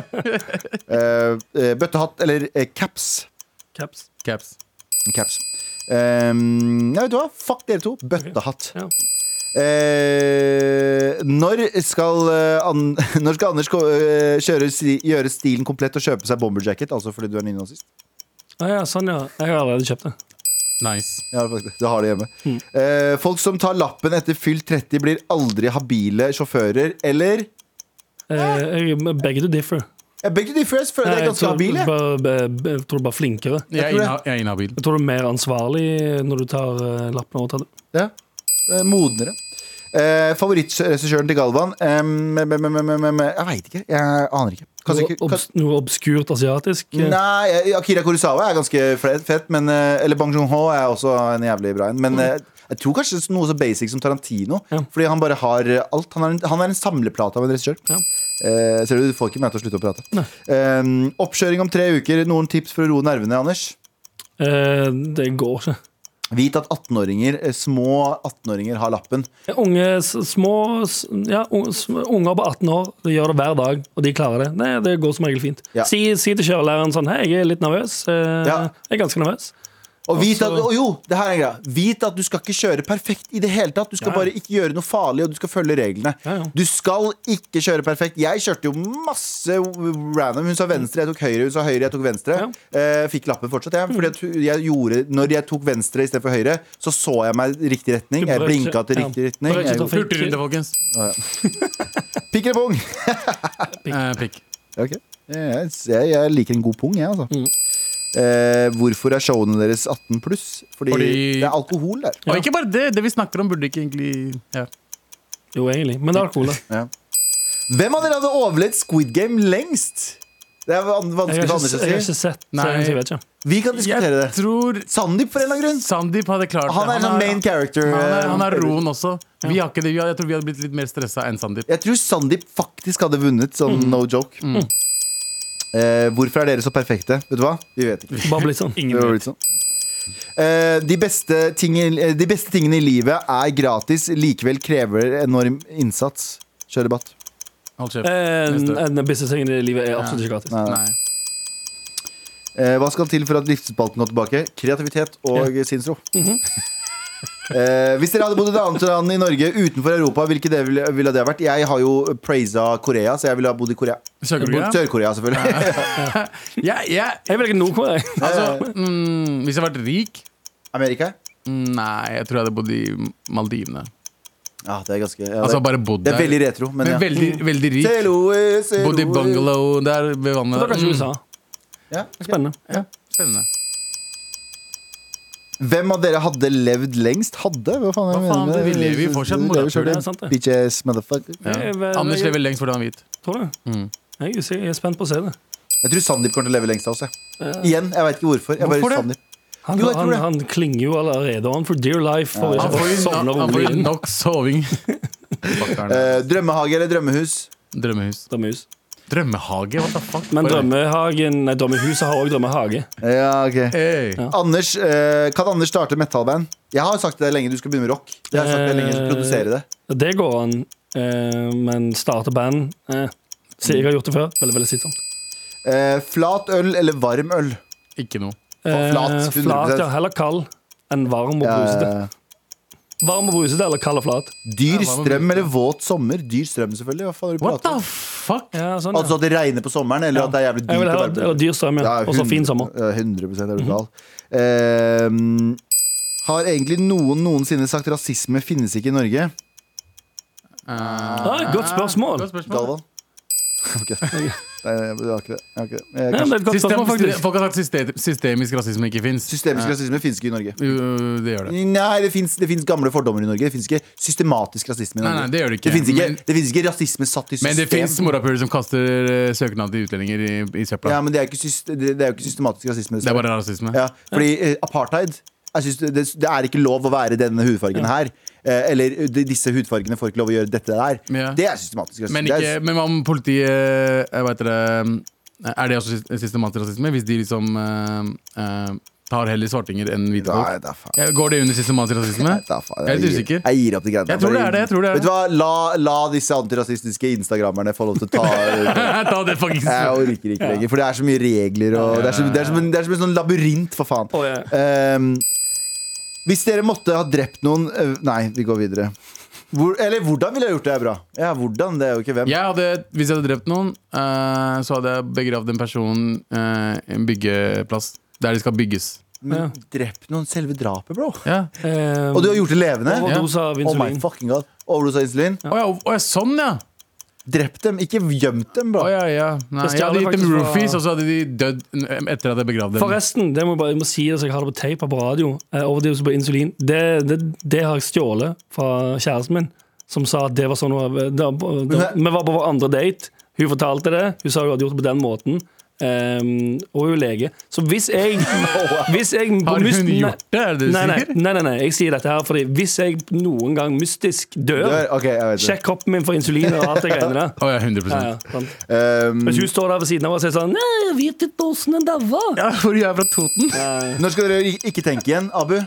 Eh, eh, bøttehatt eller eh, caps.
Caps.
Caps.
caps. Eh, nei, vet du hva? Fuck dere to. Bøttehatt.
Ja.
Eh, når, skal, eh, an, når skal Anders ko- eh, kjøre, si- gjøre stilen komplett og kjøpe seg bomberjacket? Altså fordi du er nynazist?
Ah, ja, sånn, ja. Jeg har allerede kjøpt det.
Nice.
Ja, faktisk. Du har det hjemme. Eh, folk som tar lappen etter fylt 30, blir aldri habile sjåfører. Eller
Eh, jeg- begge to differ.
Jeg begge de first føler jeg
Nei,
er ganske
tror-
habile.
bare- be- be- Jeg tror du bare er flinkere.
Jeg
tror
er,
det.
inha jeg er inhabil.
Jeg tror du er mer ansvarlig når du tar eh, lappen og tar det.
Ja. Eh, Modnere. Eh, Favorittregissøren til Galvan Em, em, em, em, em, em, Jeg veit ikke. Jeg aner ikke. Kanskje
Noe,
ikke kan-
obs, noe obskurt asiatisk. eh,
Nei, jeg- Akira Kurosawa er ganske fre- fett, men, eh, eller Bang Joon-ho er også en jævlig bra en. Men eh, jeg tror kanskje noe så basic som Tarantino.
Mm. Ja.
Fordi han bare har eh, alt. Han er en, han er en samleplate av en regissør.
Ja.
Eh, ser du, du får ikke meg til å slutte å prate. Eh, oppkjøring om tre uker. Noen tips for å roe nervene, Anders?
eh, det går ikke.
Vit at 18-åringer, eh, små 18-åringer har lappen.
Unge, s- små, s- ja, unge, sm- unger på 18 år de gjør det hver dag, og de klarer det. Nei, Det går som regel fint.
Ja.
Si, si til kjørelæreren sånn Hei, jeg er litt nervøs. Eh,
Ja.
Jeg er ganske nervøs.
Og vit at,
så-
og jo, det her er en greie Vit at du skal ikke kjøre perfekt i det hele tatt. Du skal
Ja, ja.
bare ikke gjøre noe farlig, og du skal følge reglene.
Ja, ja.
Du skal ikke kjøre perfekt. Jeg kjørte jo masse random. Hun sa venstre, jeg tok høyre. Hun sa høyre, jeg tok venstre. Eh, fikk lappen fortsatt, jeg. Fordi at hun- jeg gjorde, når jeg tok venstre istedenfor høyre, så så jeg meg i riktig retning. Jeg
Du brøt
blinka til
ikke-
riktig
ja.
retning.
Brøt ikke
Jeg-
trafikk. Fikk-
Hurtigrunde, folkens.
Pikk eller pung?
Eh, pikk.
Ok. Jeg, jeg, jeg liker en god pung, jeg, altså.
Mm.
Eh, hvorfor er showene deres 18 pluss? Fordi,
Fordi-
det er alkohol der.
Og ikke bare det. Det vi snakker om, burde ikke egentlig ja.
Jo, egentlig. Men det er alkohol. da.
Hvem av dere hadde overlevd Squid Game lengst? Det er van-
Jeg
vanskelig
har
for
ikke,
Anders
jeg har
å si.
ikke sett
Nei.
serien, så jeg vet ikke.
Vi kan diskutere
Jeg
det.
tror
Sandeep, for en eller annen grunn.
Sandeep hadde klart
Han er en sånn main character.
Han er, han er
eh,
roen også. Vi har ikke det. Vi har, jeg tror vi hadde blitt litt mer stressa enn Sandeep.
Jeg tror Sandeep faktisk hadde vunnet, sånn no joke. Eh, hvorfor er dere så perfekte? Vet du hva? Vi vet ikke.
Bare blitt sånn.
Det var litt sånn. Eh, de, beste ting, i- eh, de beste tingene i livet er gratis, likevel krever enorm innsats. Kjør debatt.
Hold kjeft.
Eh,
En,
Neste.
en businessing i livet er absolutt ikke gratis.
Nei.
Nei.
Eh, hva skal til for at livsspalten går tilbake? Kreativitet og sinnsro.
Mhm.
eh, hvis dere hadde bodd et annet land i Norge utenfor Europa, hvilke det ville, ville det ha vært? Jeg har jo praisa Korea, så jeg ville ha bodd i Korea.
Sør-Korea?
Sør-Korea, selvfølgelig.
Ja, ja.
Jeg velger Nord-Korea.
Eh.
Altså, mm, hvis jeg hadde vært rik
Amerika?
mm, Nei, jeg tror jeg hadde bodd i Maldivene.
Ja, det er ganske ja,
Altså
det,
bare bodd
det
der.
er veldig retro, men
Men
ja.
veldig,
Mm.
veldig rik.
Seloe, seloe.
Bodd i bungalow der ved
Det er
vannet.
kanskje USA.
Ja.
Spennende.
Ja, spennende.
Hvem av dere hadde levd lengst? Hadde? Hva faen, er
Hva
jeg
faen,
mener med
vi lever jo
Vi
fortsatt
lever
det
morapuler,
fortsatt,
er sant det.
Bitches, motherfucker.
Ja.
Jeg vel-
Anders lever lengst fordi han er hvit.
Tror du?
Mm.
Jeg, er usikker. jeg er spent på å se det.
Jeg tror Sandeep kommer til å leve lengst av oss. jeg. Igjen, jeg veit ikke hvorfor. Jeg
Hvorfor
bare,
det?
Sandeep
Han,
Jo, jeg tror
han,
det.
han klinger jo allerede on for dear life. For
Han får jo
sovner
nok, han får jo
rolig.
nok soving.
Eh, drømmehage eller drømmehus?
Drømmehus.
Drømmehus.
Drømmehage? What the fuck?
Men drømmehagen, nei, drømmehuset har òg drømmehage.
Ja, ok
Hey.
Anders, eh, Kan Anders starte metalband? Jeg har sagt til deg lenge du skal begynne med rock. Jeg har sagt til deg lenge du skal produsere det
Det går an, eh, men starte band eh. Se, jeg har gjort det før. Veldig, veldig slitsomt.
Eh, Flat øl eller varm øl?
Ikke noe.
flat,
Eh, flat,
100%.
ja. Heller kald enn varm og
Eh,
brusete. Varm og brusete eller kald og flat?
Dyr strøm eller våt sommer? Dyr strøm, selvfølgelig. Hva faen har du
What
pratet
the
om?
fuck?
Ja, sånn, ja.
Altså at det regner på sommeren, eller at det er jævlig dyrt
Jeg vil
å
ha
være
eller dyr strøm, ja.
Ja,
Og så fin
100
sommer.
ja, 100 er du gal. Ehm, har egentlig noen noensinne sagt rasisme finnes ikke i Norge?
Ah, godt spørsmål.
Godt spørsmål.
Galvan? Ok. Nei, nei, det var ikke det. Jeg har ikke det. Jeg
Ja,
kan-
det er et godt
System,
spørsmål, faktisk.
folk har sagt system, systemisk rasisme ikke fins.
Systemisk rasisme finnes ikke i Norge.
Jo, det gjør det.
Nei, det finnes, det finnes gamle fordommer i Norge. Det finnes ikke systematisk rasisme i
Nei,
Norge.
nei, det gjør det ikke.
finnes ikke,
Men-
det finnes ikke rasisme satt i system.
Men det fins morapulere som kaster eh, søknad til utlendinger i, i søpla.
Ja, men det er jo ikke, syst- det, det er jo ikke systematisk rasisme.
det er bare rasisme.
Ja, fordi eh, apartheid jeg synes det, det er ikke lov å være denne hudfargen her. Eh, eller de, disse hudfargene får ikke lov å gjøre dette der.
Ja.
Det er systematisk rasisme.
Men,
Det er-
ikke, men hva om politiet jeg vet dere, Er det også sys- systematisk rasisme? Hvis de liksom eh, eh, tar heller svartinger enn hvite
Nei,
folk?
det er faen.
Eh, Går det under systematisk rasisme?
Nei, det er faen.
Jeg er litt
gir-
usikker.
Jeg gir opp de greiene. der.
Jeg tror det er det, jeg tror det er
Vet du hva, la, la disse antirasistiske instagrammerne få lov til å ta eh,
Ta det faktisk
Jeg orker ikke lenger, for det er så mye regler og Det er, så, det er, som, en, det er som en sånn labyrint, for faen.
Å, ja.
Ehm, hvis dere måtte ha drept noen øh, Nei, vi går videre. Hvor, eller hvordan ville jeg gjort det, er bra. Ja, hvordan, det er jo ikke hvem.
Jeg hadde, hvis jeg hadde drept noen, eh, så hadde jeg begravd den personen eh, i en byggeplass. Der de skal bygges.
Men drept noen selve drapet, bro.
Ja.
Eh,
Og du har gjort det levende?
Overdose av
Oh my
insulin.
fucking god. Overdose av insulin.
Å ja, å ja, sånn ja!
Drept dem, ikke gjemt dem, bro.
Å ja, ja. Nei,
Jeg
jeg
stjal
hadde gitt
faktisk
dem
fra-
roofies, og så hadde de dødd n- etter at jeg begravde dem.
Forresten, det må jeg bare, jeg må si det så jeg har det på tape her på radio. Eh, overdose på insulin. Det, det, det har jeg stjålet fra kjæresten min, som sa at det var sånn da, da, da, Vi var på vår andre date. Hun fortalte det. Hun sa hun hadde gjort det på den måten. Ehm, og hun er lege. Så hvis jeg, hvis jeg på
Har hun
myst- nei-
gjort det, er det du
nei, nei,
sier?
nei, nei, nei, jeg sier dette her fordi hvis jeg noen gang mystisk dør,
Dør, ok, jeg vet det.
sjekk kroppen min for insulin og alt det greiene der.
Å ja, 100
Ja, ja, sant.
Ehm,
Hvis hun står der ved siden av og sier sånn Nei, jeg vet ikke åssen den daua.
Ja, for jeg er fra Toten.
når skal dere ik- ikke tenke igjen, Abu?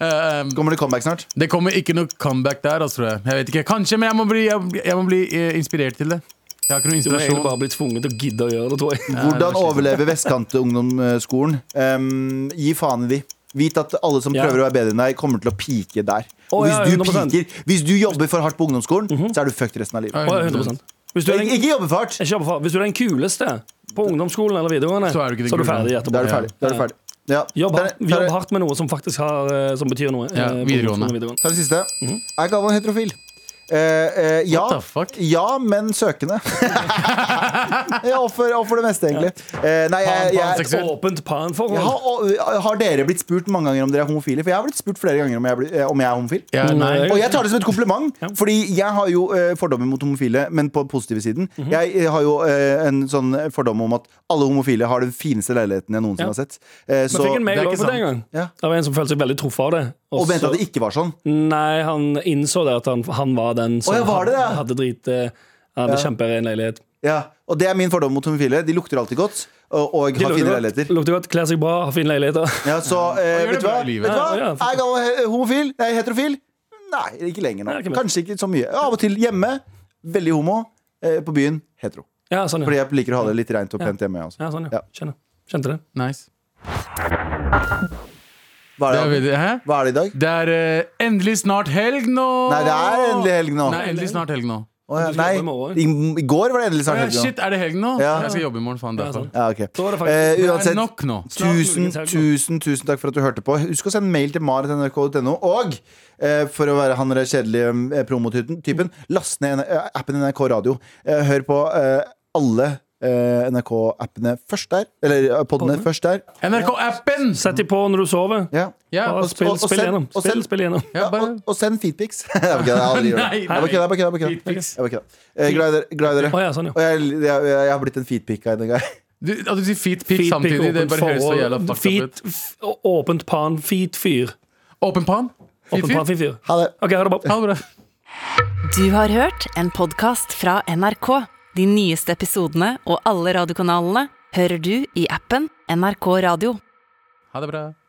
Eh,
Kommer det comeback snart?
det kommer ikke noe comeback der, altså, tror jeg. Jeg vet ikke, Kanskje, men jeg må bli, jeg, jeg må bli eh, inspirert til det. Jeg har ikke
Du
noe
må egentlig
inspirasjon.
bare bli tvunget til å gidde å gjøre det, tror jeg.
Hvordan overleve Vestkantungdomsskolen? Um, gi faen i de. Vit at alle som
Ja.
prøver å være bedre enn deg, kommer til å pike der.
Å,
Og hvis
ja, Mhm.
du
100%.
piker, hvis du jobber for hardt på ungdomsskolen, så er du fucked resten av livet.
Ja,
Å, ja, 100%. Hvis du, er
Ik
den,
ikke jobbe for hardt!
Jeg kjøper for- hvis du er den kuleste på ungdomsskolen eller videregående,
Så er du ikke den kule.
ferdig
Da
etterpå.
er du ferdig. Da er du ferdig. Ja.
Jobb,
Ta det-
hardt-
ta
jobb
det-
hardt med noe som faktisk har, eh, som betyr noe. eh,
Ja,
på
videregående.
ungdomsskolen og videregående.
Ta det siste.
Mhm.
Er Galvan heterofil? Eh, eh, ja,
What the fuck?
ja, men søkende. ja, og for, og for det meste, egentlig. Eh, nei, jeg, jeg,
Panseksuell.
Åpent panforhold.
Ja, og, har dere blitt spurt mange ganger om dere er homofile? For jeg har blitt spurt flere ganger om jeg, er bli- eh, om jeg er homofil.
Ja, nei.
Og jeg tar det som et kompliment, Fordi jeg har jo eh, fordommer mot homofile, men på den positive siden.
Mhm.
Jeg eh, har jo eh, en sånn fordom om at alle homofile har den fineste leiligheten jeg noensinne
Ja.
har sett. Eh,
Men fikk en
det
mail
er
også
ikke
på det en gang.
Ja.
Det var en som følte seg veldig truffet av det.
og mente
så-
at det ikke var sånn.
Nei, han innså det at han, han var den som
Å, ja, var det det?
hadde, hadde drit eh, Hadde kjemperein leilighet.
Ja. Og det er min fordom mot homofile. De lukter alltid godt, og, og
De
har fine
lukter
leiligheter.
godt, lukter godt, kler seg bra, har fine leiligheter.
Ja, så eh,
gjør det
vet du
bra
hva?
i livet.
Vet du hva?
Ja, ja,
Er Galvan he- homofil? Er jeg heterofil? Nei, ikke lenger nå.
Nei, ikke mer.
Kanskje ikke så mye. Av og til hjemme. Veldig homo. Eh, på byen hetero.
Ja, sånn,
Fordi
ja.
jeg liker å ha det litt rent og pent hjemme. jeg Også.
ja, sånn,
Ja.
ja. Skjønner. Kjente det.
Nice.
Hva,
Det
er
er,
det,
veldig- hæ?
hva er det i dag?
Det er eh, endelig snart helg nå!
Nei, det er endelig helg nå.
Nei, endelig snart helg nå.
Å, ja,
Du skal
nei.
jobbe i morgen.
I, I går var det endelig snart
Ja,
helg nå.
shit, er det helg nå?
Ja.
Jeg skal jobbe i morgen, faen.
Ja,
Derfor.
sånn.
Ja, ok.
Så var det faktisk-
Eh,
Det er
uansett,
nok nå.
Snart
tusen,
muligens helg nå.
tusen, tusen takk for at du hørte på. Husk å sende mail til marit.nrk.no. Og eh, for å være han der kjedelige eh, promotypen, last ned en- eh, appen NRK Radio. Eh, hør på eh, alle eh, NRK-appene først der. Eller eh, poddene først der.
NRK-appen!
Sett de på når du sover.
Ja.
Ja,
Bare
og-
spill,
og- og
spill
send-
gjennom.
og
Spill,
send-
spill gjennom.
Ja,
bare-
og, og send featpics. Jeg bare kødder, jeg har aldri gjort det.
Nei,
Jeg bare kødder, jeg bare kødder, jeg bare kødder.
Feedpics.
Jeg bare kødder. Eh, Glad i dere. Glad i dere.
Å, ja, sånn, ja.
Og jeg, jeg, jeg har blitt en featpic av en gang.
Du, at du sier feet pick samtidig, det bare høres så jævla fucked up ut.
feet, f- åpent pan, feet fyr.
Åpen pan? Feet
Åpent pan,
pick?
feet fyr.
Ha det.
OK, ha det bra.
Ha det bra.
Du har hørt en podkast fra NRK. De nyeste episodene og alle radiokanalene hører du i appen NRK Radio.
Ha det bra.